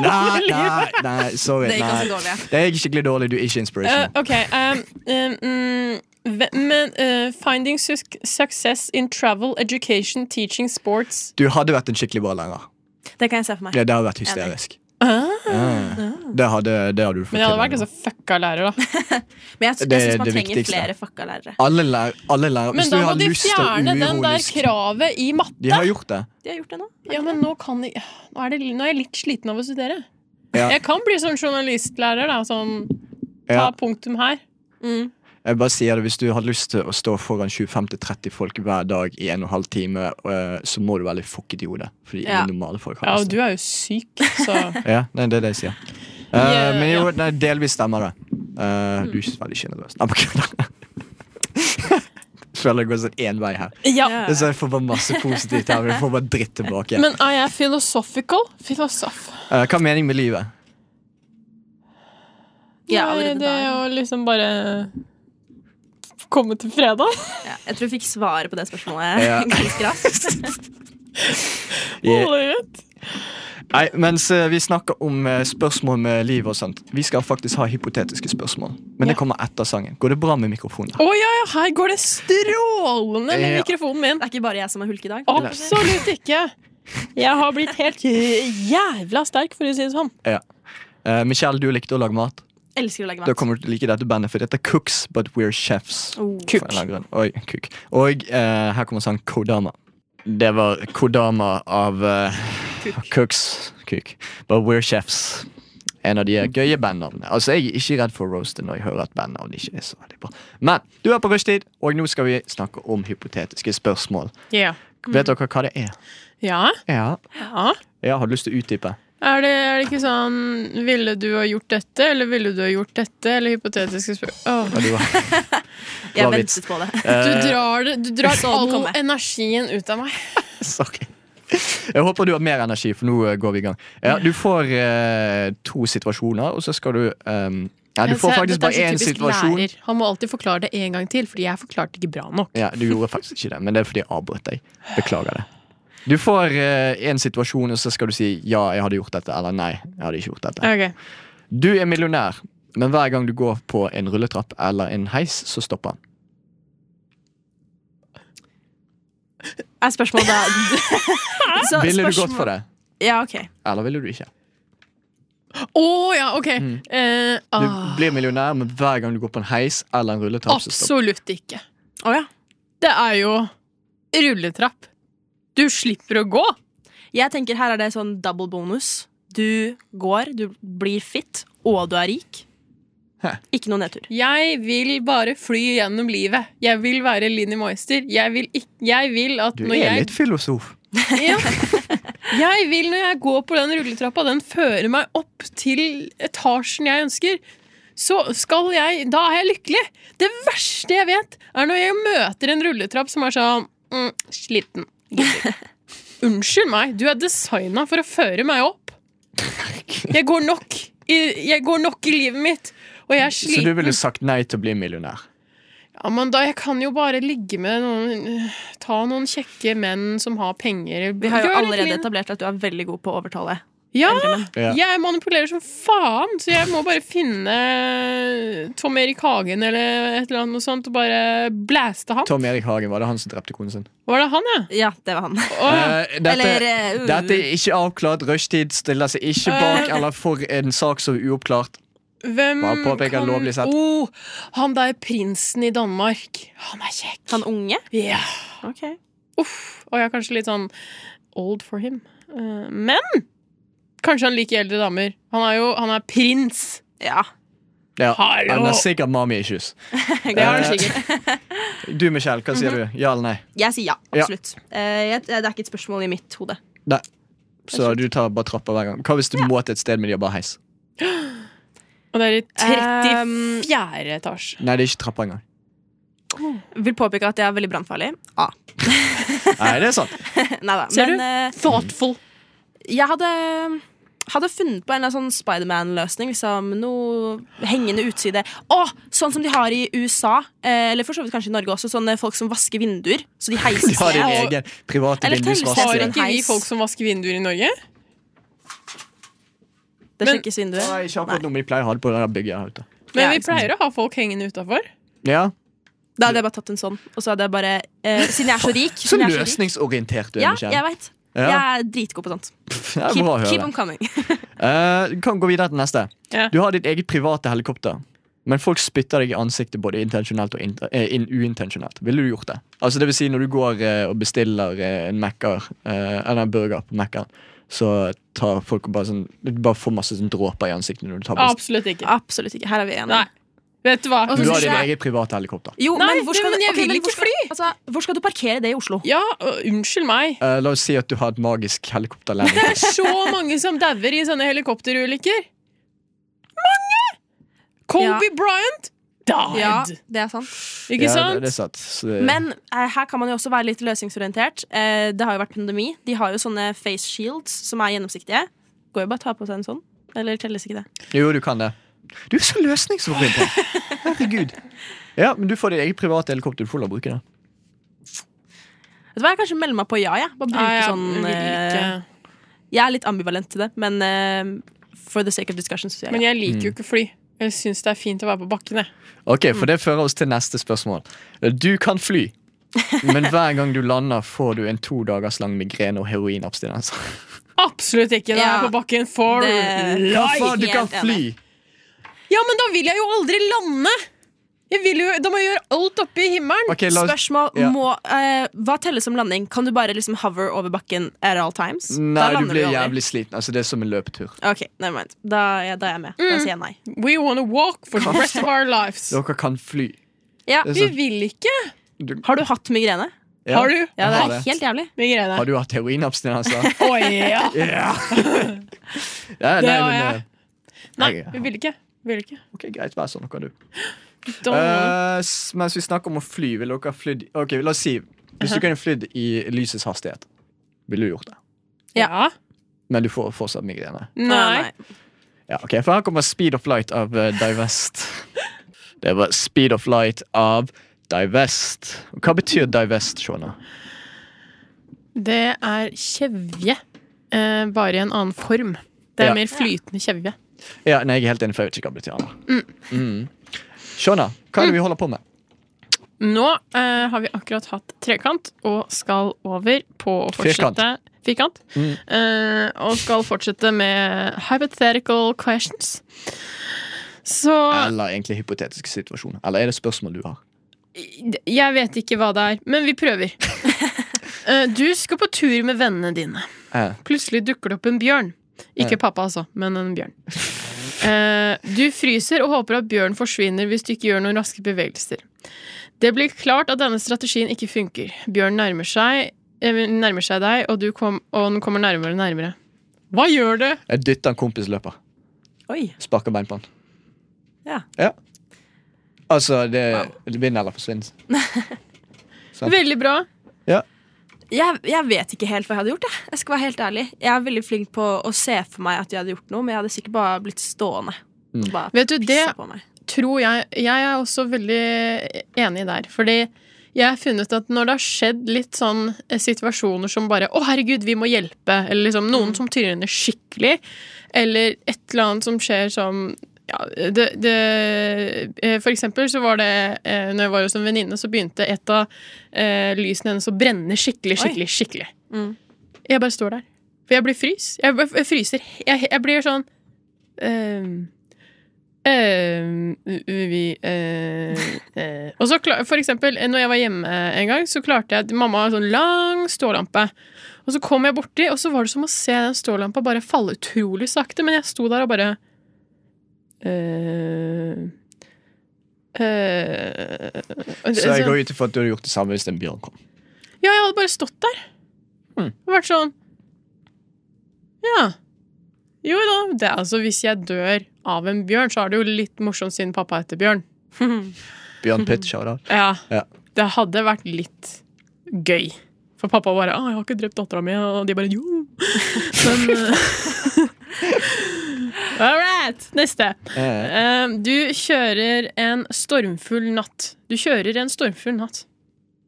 C: Nei, nei, nei sorry.
E: Det gikk ganske
C: nei.
E: dårlig. ja.
C: Det er skikkelig dårlig. Du er ikke
F: Eh,
C: inspiration.
F: ok. Um, um, mm, ve- men eh, finding suc- success in travel, education, teaching, sports
C: Du hadde vært en skikkelig bra lærer.
E: Det kan jeg se for meg.
C: Det, det hadde vært hysterisk.
F: Ah,
C: Ja. Det hadde, det hadde du fått
F: Men jeg hadde
C: til.
F: vært ganske fucka lærer, da.
E: Men
C: Det-
E: jeg, jeg syns man
C: det
E: trenger
C: viktigste.
E: flere fucka lærere.
C: Alle lær, alle lærer
F: Men
C: Hvis
F: da
C: du
F: må
C: har
F: de
C: lyst til å
F: fjerne den der
C: uironisk-
F: kravet i
C: De
F: matte.
C: har gjort det.
E: De har gjort det nå.
F: Ja, men nå kan jeg Nå er, det, nå er jeg litt sliten av å studere.
C: Ja.
F: Jeg kan bli sånn journalistlærer, da. Sånn ta
C: Ja.
F: punktum her.
C: Jeg bare sier det, Hvis du har lyst til å stå foran 25-30 folk hver dag i en og en halv time, eh, så må du være litt fucket i hodet. Fordi
E: Ja.
C: ingen normale folk
F: Ja,
C: har lyst
F: og du
C: til det.
F: er jo syk, så
C: Ja, nei, det er det jeg sier. Eh,
F: Ja, Mm.
C: men jo,
F: ja.
C: nei, delvis stemmer det. Eh, Du er veldig sjenerøs. Nei, bare kødder. Føler det går sånn én vei her.
F: Ja.
C: Så jeg får bare masse positivt her. men Jeg får bare dritt tilbake.
F: Men er jeg philosophical? Filosof?
C: Eh, hva er meningen med livet?
E: Ja,
F: Nei,
E: allerede
F: det er
E: da.
F: jo liksom bare komme til fredag.
E: Ja. Jeg tror vi fikk svaret på det spørsmålet
C: Ja.
E: ganske raskt.
C: Yeah.
F: Holde ut.
C: Nei, mens eh, vi snakker om eh, spørsmål med livet og sånt, vi skal faktisk ha hypotetiske spørsmål. Men det
F: Ja.
C: kommer etter sangen. Går det bra med mikrofonen?
F: Å ja, ja, her går det strålende med
C: Ja.
F: mikrofonen min.
E: Det er ikke bare jeg som har hulk i dag.
F: Absolutt ikke. Jeg har blitt helt jævla sterk, for å si det sånn.
C: Eh, Michelle, du likte å lage mat.
E: Jeg elsker å lage
C: Da
E: mat.
C: kommer du til å like dette bandet, for dette er Cooks, but we're chefs.
E: Oh.
C: For en eller annen grunn. Oi, kuk. Og eh, her kommer sangen Kodama. Det var Kodama av eh, Cooks. Kuk. But we're chefs. En av de gøye bandnavnene. Altså, Jeg er ikke redd for å roaste når jeg hører at bandnavn ikke er så veldig bra. Men du er på rushtid, og nå skal vi snakke om hypotetiske spørsmål.
F: Ja.
C: Vet dere hva det er?
F: ja.
C: Ja.
F: ja.
C: ja har du lyst til å utdype?
F: Er, det, er det ikke sånn Ville du ha gjort dette, eller ville du ha gjort dette? Eller hypotetiske spørsmål
C: Ja, du har-
E: Jeg
C: Bra vits.
E: ventet på det.
F: Du
C: Eh,
F: drar, det- du drar
E: Så den
F: all
E: kommer.
F: energien ut av meg.
C: Sorry. Jeg håper du har mer energi, for nå eh, går vi i gang. Ja, du får eh, to situasjoner, og så skal du ehm, Ja, du får
F: Altså,
C: faktisk
F: dette er
C: bare
F: så
C: én
F: typisk
C: situasjon.
F: Lærer. Han må alltid forklare det en gang til, fordi jeg forklarte det ikke bra nok.
C: Ja, du gjorde faktisk ikke det, men det er fordi jeg avbrøt deg. Beklager det. Du får eh, én situasjon, og så skal du si ja, jeg hadde gjort dette, eller nei. jeg hadde ikke gjort dette.
F: Ok.
C: Du er millionær, men hver gang du går på en rulletrapp eller en heis, så stopper han.
E: Er spørsmålet da Så
C: Ville du
E: spørsmål-
C: gått for det,
E: Ja, ok.
C: eller ville du ikke?
F: Å ja, ok. Eh,
C: Mm. Du
F: ah,
C: blir millionær, men hver gang du går på en heis eller en rulletrapp, så stopper han.
F: absolutt ikke.
E: Å, ja.
F: Det er jo rulletrapp. Du slipper å gå.
E: Jeg tenker her er det sånn double bonus. Du går, du blir fit, og du er rik.
C: Hæ.
E: Ikke noe nedtur.
F: Jeg vil bare fly gjennom livet. Jeg vil være Linni Moister. Jeg vil, ikk- jeg vil at
C: Du
F: når
C: er
F: jeg
C: litt filosof.
F: Ja. Jeg vil når jeg går på den rulletrappa, den fører meg opp til etasjen jeg ønsker. Så skal jeg Da er jeg lykkelig! Det verste jeg vet, er når jeg møter en rulletrapp som er sånn mm, sliten. Gidder. Unnskyld meg, du er designa for å føre meg opp. Jeg går nok i, jeg går nok i livet mitt, og jeg er
C: Så du
F: sliten.
C: ville sagt nei til å bli millionær?
F: Ja, men da, jeg kan jo bare ligge med noen Ta noen kjekke menn som har penger.
E: Vi har jo
F: Gjør et
E: allerede
F: lite-
E: etablert at du er veldig god på å overtale.
F: Ja!
C: Ja.
F: Jeg manipulerer som faen, så jeg må bare finne Tom Erik Hagen eller et eller annet noe sånt og bare blæste han.
C: Tom Erik Hagen, var det han som drepte konen sin?
F: Var det han, ja?
E: Ja, det var han.
F: Åh,
C: Eh, dette,
E: Eller, uh, Eh.
C: dette er ikke avklart. Rushtid stiller seg ikke bak eller for en sak som er uoppklart.
F: hvem
C: Bare påpeke
F: kan
C: lovlig sett.
F: Åh, han der prinsen i Danmark. Han er kjekk.
E: Han unge?
F: Ja.
E: Ok.
F: Uff. Og jeg er kanskje litt sånn old for him. Eh, men kanskje han liker eldre damer. Han er jo han er prins.
E: Ja.
C: Ja,
F: Hallo!
C: han har sikkert mommy issues.
F: Det har han
C: Eh,
F: sikkert.
C: Du, Michelle, hva sier
E: Mhm.
C: du? Ja eller nei?
E: Jeg sier ja.
C: Ja.
E: Absolutt. Eh, jeg, det er ikke et spørsmål i mitt hode.
C: Nei. Så du tar bare trappa hver gang. Hva hvis du må til et sted, men de har bare heis?
F: Og det er i 34.
E: Um,
F: etasje.
C: Nei, det er ikke trappa engang.
E: Vil påpeke at jeg er veldig brannfarlig. Ah.
C: Nei, det er sant.
E: Neida,
F: Ser
E: men
F: du?
E: eh,
F: Thoughtful.
E: jeg hadde, hadde funnet på en eller annen sånn Spiderman-løsning. Liksom, noe hengende utside. Å, sånn som de har i USA, eh, eller for så vidt kanskje i Norge også. Sånne folk som vasker vinduer. Så de
C: De
E: heises
C: har din
E: ned.
C: egen private
E: Eller
C: vindusvask.
F: Har
E: tellestasjon.
F: ikke vi
E: Heis.
F: folk som vasker vinduer i Norge?
E: Det
F: Men-
E: sjekkes vinduer.
C: Nei, ikke akkurat noe, men de pleier å ha det på det der bygget her ute.
F: Men
E: Ja,
F: vi
E: ikke
F: pleier å ha folk hengende utafor.
C: Ja,
E: Da hadde jeg bare tatt en sånn. Og så hadde jeg bare eh, Siden jeg er så rik.
C: Så
E: siden jeg er så rik-
C: løsningsorientert Sånn du er,
E: Ja, jeg
C: Michelle.
E: vet.
C: Ja.
E: Jeg er dritgod på sånt.
C: Det er
E: Keep,
C: bra å
E: keep
C: høre.
E: them coming.
C: Eh, Du kan gå videre til neste.
F: Ja.
C: Du har ditt eget private helikopter. Men folk spytter deg i ansiktet både intensjonelt og in eh, in uintensjonelt. Ville du gjort det? Altså det vil si Når du går eh, og bestiller eh, en Mac-er, eh, eller en burger på Mac-en, så tar folk og bare sånn Du bare får masse sånn dråper i ansiktet når du tar best.
F: Absolutt ikke.
E: Absolutt ikke. Her er vi enige.
F: Nei. Vet du hva?
E: Og så
C: Du
E: synes
C: har ditt
E: jeg-
C: eget private helikopter.
E: Jo,
F: Nei,
E: men hvor skal,
F: men
E: du-
F: jeg
E: ok,
F: vil
E: men
F: ikke
E: hvor skal-
F: fly!
E: Altså, hvor skal du parkere det i Oslo?
F: Ja, og unnskyld meg.
C: Eh, la oss si at du har et magisk helikopterlanding.
F: Det er så mange som dauer i sånne helikopterulykker. Mange! Kobe Bryant died.
E: Ja, det er sant.
F: Ikke
C: Ja,
F: sant?
C: det, det er sant. Så det,
E: Men eh, her kan man jo også være litt løsningsorientert. Eh, det har jo vært pandemi. De har jo sånne face shields som er gjennomsiktige. Går jo bare å ta på seg en sånn. Eller telles ikke det?
C: Jo, du kan det. Du er så løsningsorientert! Herregud. Ja, men du får ditt eget private helikopter. Du får la bruke det.
E: Vet du hva, Jeg kanskje melder meg på ja, jeg. Bare bruke
F: Nei, jeg vil
E: sånn eh,
F: ikke.
E: Jeg er litt ambivalent til det, men eh, for the sake of discussion så sier
F: Men
E: jeg ja.
F: jeg
C: Mm.
F: liker jo ikke fly. Jeg syns det er fint å være på bakken. jeg.
C: Ok,
F: Mm.
C: for det fører oss til neste spørsmål. Du kan fly, men hver gang du lander, får du en to dagers lang migrene og heroinabstinens.
F: Absolutt ikke. Da er jeg
E: Ja.
F: på bakken for
E: Det-
C: Ja,
F: life.
C: faen, du kan
E: helt
C: fly!
F: Ja, men da vil jeg jo aldri lande! Jeg vil jo, da må jeg gjøre alt oppe i himmelen.
C: Ok, la oss
E: Spørsmål
C: Ja.
E: må eh, Hva telles som landing? Kan du bare liksom hover over bakken at all times?
C: Nei, du
E: lander
C: blir
E: jo aldri.
C: jævlig sliten. Altså, det er som en løpetur.
E: Ok, never mind. Da, er jeg- da er jeg med.
C: Mm.
E: Da sier jeg nei.
F: We wanna walk for the rest of our lives.
C: Dere kan fly.
E: Ja.
C: Det er
F: Vi
C: så-
F: vil ikke.
E: Har du hatt migrene?
C: Ja.
F: Har du?
E: Ja, det
C: Har
E: er
C: det.
E: helt jævlig.
F: Migrene.
C: Har du hatt heroinabstinenser?
F: Å ja!
C: Ja! ja
F: Det
C: nei,
F: har
C: men,
F: jeg.
C: eh,
F: Nei,
C: Jeg-
F: vi vil ikke. Vi vil ikke.
C: ok, greit, vær sånn. Nå kan du.
F: Don't wanna-
C: Eh, s- mens vi snakker om å fly, ville dere ha flydd Ok, la oss si Hvis du kunne flydd i lysets hastighet, ville du gjort det.
F: ja.
C: Men du får fortsatt migrene.
F: Nei.
C: Ja, ok, for her kommer Speed of Light av eh, Divest. Det var Speed of Light av Divest. Og Hva betyr Divest, Shona?
F: Det er kjevje, eh, bare i en annen form. Det er
C: Ja.
F: mer flytende kjevje.
C: Ja, nei, jeg er helt enig, for jeg vet ikke hva det betyr. Anna. Mm. Shona, hva er det vi holder på med?
F: Nå eh, har vi akkurat hatt trekant og skal over på å
C: Firkant. Mm.
F: fortsette Firkant. Eh, og skal fortsette med hypothetical questions. Så
C: Eller egentlig hypotetiske situasjoner? Eller er det spørsmål du har?
F: Jeg vet ikke hva det er, men vi prøver. Eh, du skal på tur med vennene dine.
C: Eh,
F: Plutselig dukker det opp en bjørn. Ikke pappa, altså, men en bjørn. Eh, du fryser og håper at bjørnen forsvinner hvis du ikke gjør noen raske bevegelser. Det blir klart at denne strategien ikke funker. Bjørnen nærmer seg, eh, nærmer seg deg, og, du kom, og den kommer nærmere og nærmere. Hva gjør du?
C: jeg dytter en kompis løper.
E: Oi.
C: Sparker bein på han.
E: Ja.
C: Altså, det vinner eller forsvinner. Sant.
F: Veldig bra.
C: Ja.
E: jeg, jeg vet ikke helt hva jeg hadde gjort. Jeg. jeg skal være helt ærlig Jeg er veldig flink på å se for meg at jeg hadde gjort noe, men jeg hadde sikkert bare blitt stående. og Bare
F: Mm. Vet du, det
E: pissa på meg.
F: tror jeg Jeg er også veldig enig der. Fordi jeg har funnet at når det har skjedd litt sånn eh, situasjoner som bare 'Å, herregud, vi må hjelpe', eller liksom noen som tryner skikkelig, eller et eller annet som skjer som ja, det, det, eh, for eksempel så var det eh, Når jeg var hos en venninne, så begynte et av eh, lysene hennes å brenne skikkelig, skikkelig, skikkelig.
E: Mm.
F: Jeg bare står der. For jeg blir frys. Jeg, bare- jeg fryser. Jeg, jeg blir sånn ehm, ehm, vi, eh, eh. Og så klar, For eksempel, eh, når jeg var hjemme en gang, så klarte jeg Mamma har en sånn lang stålampe. Og så kom jeg borti, og så var det som å se den stålampa bare falle utrolig sakte. Men jeg sto der og bare eh, eh,
C: Så jeg går ut ifra at du hadde gjort det samme hvis en bjørn kom.
F: ja, jeg hadde bare stått der.
C: Mm.
F: Og vært sånn Ja. Jo da. Det, er altså, hvis jeg dør av en bjørn, så er det jo litt morsomt siden pappa heter Bjørn.
C: Bjørn Pitt, shout out.
F: Ja.
C: Ja.
F: Det hadde vært litt gøy. For pappa bare 'Å, jeg har ikke drept dattera mi', og de bare 'jo'. Men eh, All right! Neste.
C: Eh,
F: Eh, du kjører en stormfull natt. Du kjører en stormfull natt.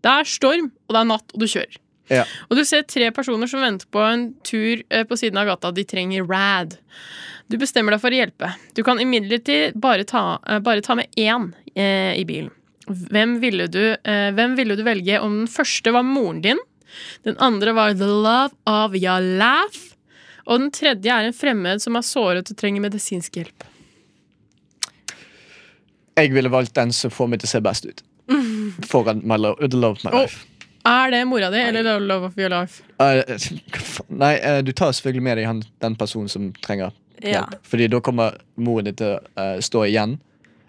F: Det er storm, og det er natt, og du kjører.
C: Ja.
F: Og du ser tre personer som venter på en tur eh, på siden av gata. De trenger rad. Du bestemmer deg for å hjelpe. Du kan imidlertid bare, ta- eh, bare ta med én eh, i bilen. Hvem ville, du, eh, hvem ville du velge om den første var moren din? Den andre var the love of your life. Og den tredje er en fremmed som er såret og trenger medisinsk hjelp.
C: jeg ville valgt den som får meg til å se best ut. Foran my love, the love of my
F: Å.
C: life.
F: Er det mora di, eller er det Love of Your Life?
C: Eh, hva faen? nei, eh, du tar selvfølgelig med deg han, den personen som trenger
E: Ja.
C: hjelp. Fordi da kommer moren din til å eh, stå igjen.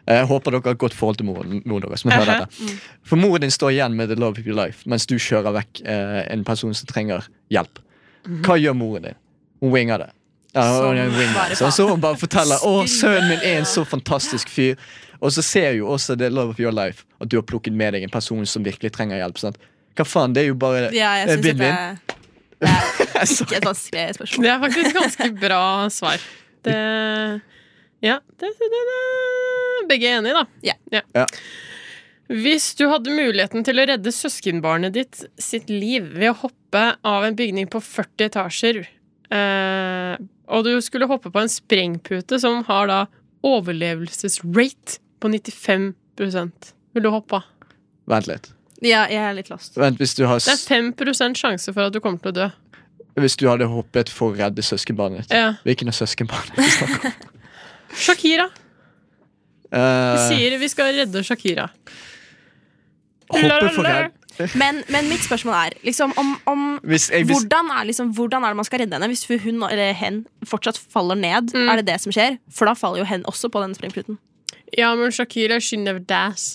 C: Eh, Jeg håper dere har et godt forhold til moren, moren deres. som hører
F: Aha.
C: dette. For moren din står igjen med the love of your life, mens du kjører vekk eh, en person som trenger hjelp.
E: Mhm.
C: Hva gjør moren din? Hun winger det. Ja, hun er en winger. Så, så hun bare forteller Å, sønnen min er en så fantastisk fyr. Og så ser jo også the love of your life at du har plukket med deg en person som virkelig trenger hjelp. Sant? Hva faen, det er jo bare
E: Ja, jeg
C: eh,
E: synes at det,
C: win-win.
E: det er ikke et vanskelig spørsmål.
F: Det er faktisk ganske bra svar. Det Ja. Det, det, det, det. Begge er enige, da.
E: Ja.
C: Ja.
F: Hvis du hadde muligheten til å redde søskenbarnet ditt sitt liv ved å hoppe av en bygning på 40 etasjer, eh, og du skulle hoppe på en sprengpute som har da overlevelsesrate på 95 vil du hoppe av?
C: Vent litt.
E: Ja, jeg er litt lost.
C: Vent, hvis du, har,
F: Det er 5 sjanse for at du kommer til å dø.
C: hvis du hadde hoppet for å redde søskenbarnet ditt
F: Ja.
C: Hvilken av søskenbarna er det vi snakker om?
F: Shakira. Vi
C: Eh,
F: sier vi skal redde Shakira.
C: hoppe for redd.
E: Men, men mitt spørsmål er liksom om, om
C: Hvis jeg, hvis,
E: hvordan, er, liksom, hvordan er det man skal redde henne hvis hun eller hen fortsatt faller ned?
F: Mm.
E: Er det det som skjer? For da faller jo hen også på den sprengpruten.
F: Ja, men Shakira, she never dies.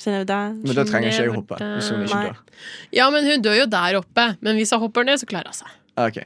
E: Så det er jo der-
C: men da trenger ikke jeg å hoppe.
F: Hvordan-
C: Hvis hun ikke
E: Nei.
C: dør.
F: Ja, men hun dør jo der oppe. Men hvis hun hopper ned, så klarer hun seg.
C: Ah, ok.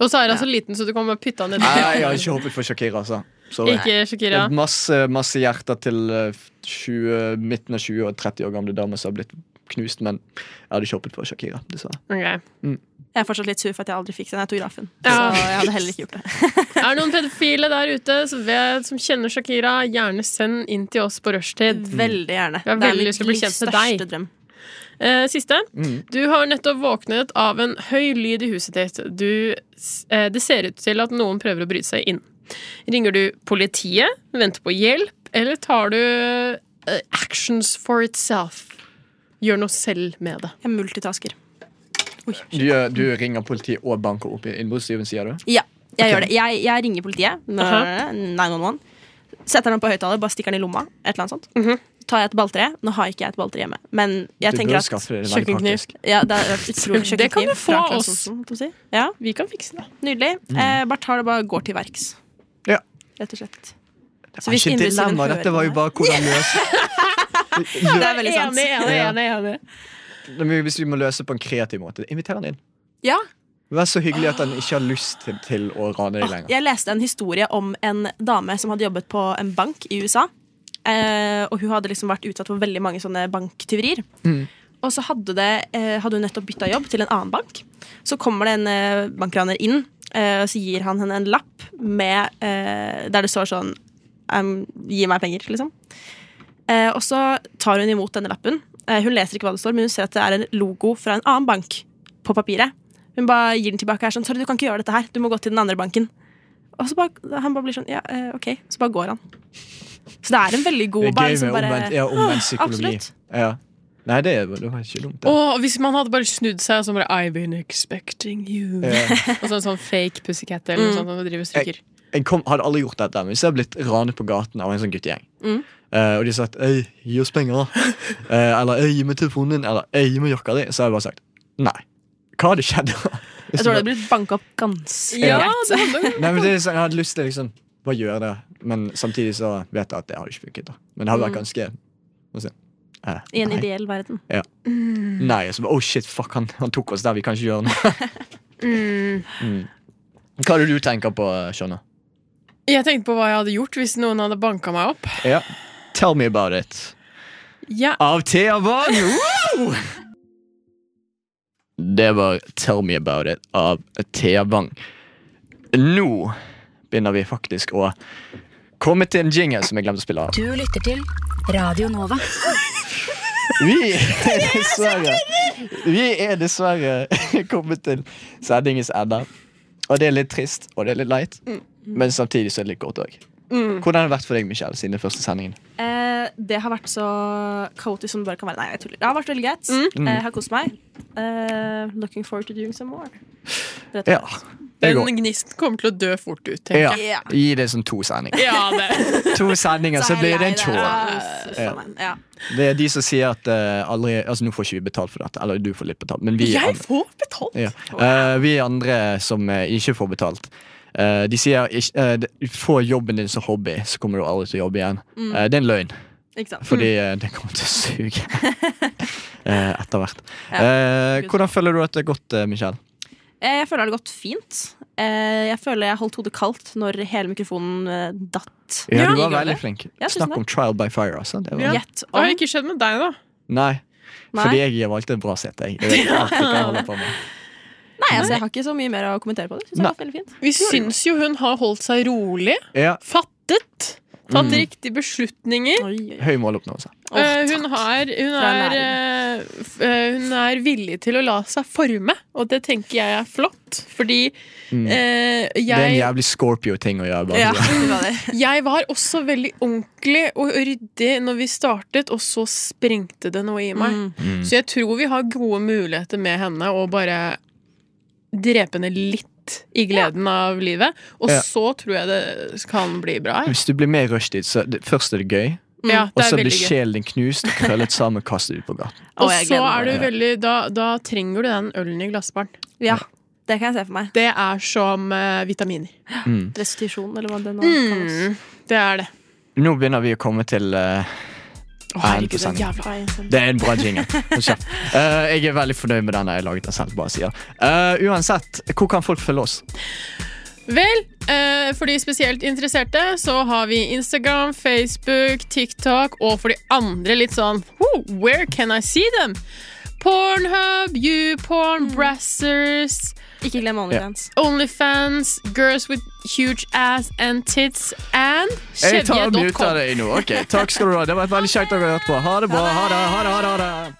F: Og så er hun så liten, så du kan bare pytte henne
C: Nei, jeg har
F: nedi.
C: ikke hoppet for Shakira, altså. Sorry.
F: Ikke
C: Det
F: Shakira.
C: er Masse, masse hjerter til eh, 20, midten av 20 og 30 år gamle damer som har blitt knust, men jeg hadde ikke hoppet for Shakira, dessverre.
F: Ok.
E: Jeg er fortsatt litt sur for at jeg aldri fikk den autografen.
F: Ja.
E: Så jeg hadde heller ikke gjort det.
F: Er det noen pedofile der ute som, vet, som kjenner Shakira, gjerne send inn til oss på rushtid.
E: Veldig gjerne.
F: Mm. Jeg har veldig lyst til å bli kjent med deg.
E: drøm.
F: Eh, siste.
C: Mm.
F: Du har nettopp våknet av en høy lyd i huset ditt. Du, eh, det ser ut til at noen prøver å bryte seg inn. Ringer du politiet, venter på hjelp, eller tar du eh, actions for itself? Gjør noe selv med det.
E: Jeg multitasker.
C: Du, eh, du ringer politiet og banker opp i innbruddstyven, sier du?
E: Ja, jeg gjør det. Jeg, jeg ringer politiet.
F: Aha.
E: 911. Setter den på høyttaler, bare stikker den i lomma. Et eller annet sånt.
F: Mhm.
E: Tar jeg et balltre? Nå har ikke jeg et balltre hjemme, men jeg
C: du
E: tenker
C: burde
E: at
C: skaffe deg det veldig
F: kjøkkenkniv.
C: praktisk.
E: ja, det, er utrolig kjøkkenkniv.
F: Det kan du få
E: fra Claes
F: oss.
E: Olsen, holdt jeg på å Si. Ja,
F: Vi kan fikse det.
E: nydelig. Eh, bare tar det bare går til verks.
C: Mm. Ja.
E: Rett og slett.
C: Det
E: Så
C: var
E: hvis
C: ikke et
E: innbruddstyven
C: dilemma,
E: hører
C: dette var jo
E: på
C: bare hvordan løse
E: Det er veldig sant.
C: enig, Det er mye Hvis vi må løse på en kreativ måte, inviter han inn.
E: Ja,
C: Vær så hyggelig at han ikke har lyst til, til å rane deg lenger.
E: Jeg leste en historie om en dame som hadde jobbet på en bank i USA. Eh, og hun hadde liksom vært utsatt for veldig mange sånne banktyverier. Og så hadde, det, eh, hadde hun nettopp bytta jobb til en annen bank. Så kommer det en eh, bankraner inn, eh, og så gir han henne en lapp med, eh, der det står sånn em, Gi meg penger, liksom. Eh, og så tar hun imot denne lappen. Eh, hun leser ikke hva det står, men hun ser at det er en logo fra en annen bank på papiret. Hun bare gir den tilbake og er sånn Sorry, du kan ikke gjøre dette her. Du må gå til den andre banken. Og så bare, han bare blir sånn Ja, eh, OK. Så bare går han. Så det er en veldig god
C: Det er
E: bare
C: gøy
E: liksom
C: med
E: bare-
C: omvendt, ja, omvendt
E: Ah,
C: psykologi.
E: Absolutt.
C: Ja. Nei, det er- det var ikke dumt. Det.
F: Og hvis man hadde bare snudd seg og så bare I've been expecting you.
C: Ja.
F: Og så en sånn fake pussycat eller noe
E: Mm.
F: sånt. Og driver og stryker.
C: Jeg kom, hadde aldri gjort dette, men hvis jeg hadde blitt ranet på gaten av en sånn guttegjeng
E: Mm.
C: eh, Og de hadde sagt 'Øy, gi oss penger', da. Eh, eller 'Øy, gi meg telefonen din', eller 'Øy, gi meg jakka di', så hadde jeg bare sagt nei. Hva hadde skjedd? da?
E: Jeg tror det hadde blitt banka opp ganske
F: Ja,
E: greit.
F: det handler om
C: Nei, men det er sånn, Jeg hadde lyst til liksom bare gjøre det, men samtidig så vet jeg at det hadde ikke funket. da Men det hadde vært ganske hva skal jeg si, eh,
E: I en
C: nei.
E: ideell verden.
C: Nei, og så bare, oh shit, fuck, han, han tok oss der, vi kan ikke gjøre noe. Mm. Hva er det du tenker på, Shona?
F: Jeg tenkte på hva jeg hadde gjort hvis noen hadde banka meg opp.
C: Ja. Tell me about it.
F: Jeg
C: Av Thea Vang! Wow! Det var Tell me about it av Thea Vang. Nå begynner vi faktisk å komme til en jingle som jeg glemte å spille av.
H: Du lytter til Radio Nova.
C: Vi er dessverre Vi er dessverre kommet til sendingens ende. Og det er litt trist, og det er litt leit, men samtidig så er det litt godt òg. Hvordan har det vært for deg, Michelle, siden den første sendingen?
E: Eh, det har vært så kaotisk som det bare kan være. Nei, jeg tuller. Det har vært veldig greit.
C: Mm.
E: Eh, Jeg har kost meg. Eh, looking forward to doing some more. Rett og
C: Ja.
E: slett.
C: Det
F: Den
C: går.
F: gnisten kommer til å dø fort ut,
C: Ja.
F: tenker jeg.
C: Gi det som to sendinger.
F: Ja, det.
C: To sendinger, så
E: er
C: blir
E: jeg
C: det en
E: der.
C: tråd.
E: Ja, faen meg. Ja.
C: Det er de som sier at eh, aldri Altså, nå får ikke vi betalt for dette. Eller du får litt betalt, men vi
F: Jeg
C: andre,
F: får betalt!
C: ja. Eh, Vi andre som eh, ikke får betalt, eh, de sier ikke, eh, d- Få jobben din som hobby, så kommer du aldri til å jobbe igjen. Eh, det er en løgn,
E: Ikke sant.
C: fordi eh, det kommer til å suge eh, etter hvert. Eh, hvordan føler du at det er gått, eh, Michelle?
E: Eh, Jeg føler det har gått fint. Eh, Jeg føler jeg holdt hodet kaldt når hele mikrofonen eh, datt.
C: Ja, du var
E: Gikk over.
C: veldig flink.
E: Ja, tusen
C: Snakk om trial by fire, altså. Det var,
F: Ja.
E: Gjett
F: Hva har
E: om.
F: ikke skjedd med deg, da?
C: Nei, fordi
E: Nei.
C: jeg valgte et bra sete. Jeg. Jeg vet alltid hva jeg holder på med.
E: Nei, altså, jeg har ikke så mye mer å kommentere på det. Synes det har gått veldig fint.
F: Vi syns jo hun har holdt seg rolig.
C: Ja,
F: Fattet. Tatt
C: Mm.
F: riktige beslutninger.
E: Oi, oi, oi.
C: høy måloppnåelse.
E: Åh,
F: Eh, hun, har, hun,
E: Fra
F: er, eh, f- eh, hun er villig til å la seg forme, og det tenker jeg er flott. Fordi
C: Mm.
F: eh,
C: Det er en
F: jeg,
C: jævlig Scorpio-ting å gjøre. Bare.
E: Ja, det var det.
F: jeg var også veldig ordentlig og ryddig når vi startet, og så sprengte det noe i meg.
E: Mm.
C: Mm.
F: Så jeg tror vi har gode muligheter med henne å bare drepe henne litt i gleden av livet. Og
C: Ja.
F: så tror jeg det kan bli bra. jeg.
C: Hvis du blir med i rushtid, så det, først er det gøy,
F: Ja,
C: og
F: det
C: så
F: er
C: blir
F: veldig gøy.
C: sjelen din knust, krøllet sammen, kastet ut på gaten.
F: Og
E: Åh, jeg
F: så
E: gleder meg.
F: er du veldig Da, da trenger du den ølen i glassbaren.
E: Ja, det kan jeg se for meg.
F: Det er som eh, vitaminer.
C: Mm.
E: Restitusjon, eller hva det nå kalles.
F: Mm, det er det.
C: Nå begynner vi å komme til eh,
F: Å,
C: Nei,
F: herregud, den
C: prosent.
F: jævla
C: Det er en bra jingle. Hold kjeft. Eh, jeg er veldig fornøyd med den jeg laget den selv. bare sier. Eh, uansett, hvor kan folk følge oss?
F: Vel, eh, for de spesielt interesserte, så har vi Instagram, Facebook, TikTok, og for de andre litt sånn «Woo, Where can I see them? Pornhub, YouPorn, Brassers,
E: Ikke glem OnlyFans.
F: Onlyfans, Girls with huge ass and tits and
C: Jeg tar og muter
F: kjevje.com.
C: deg nå. Ok, Takk skal du ha. Det var et veldig kjekt å ha hørt på. Ha det bra. Ha det, ha det, ha det. Ha det.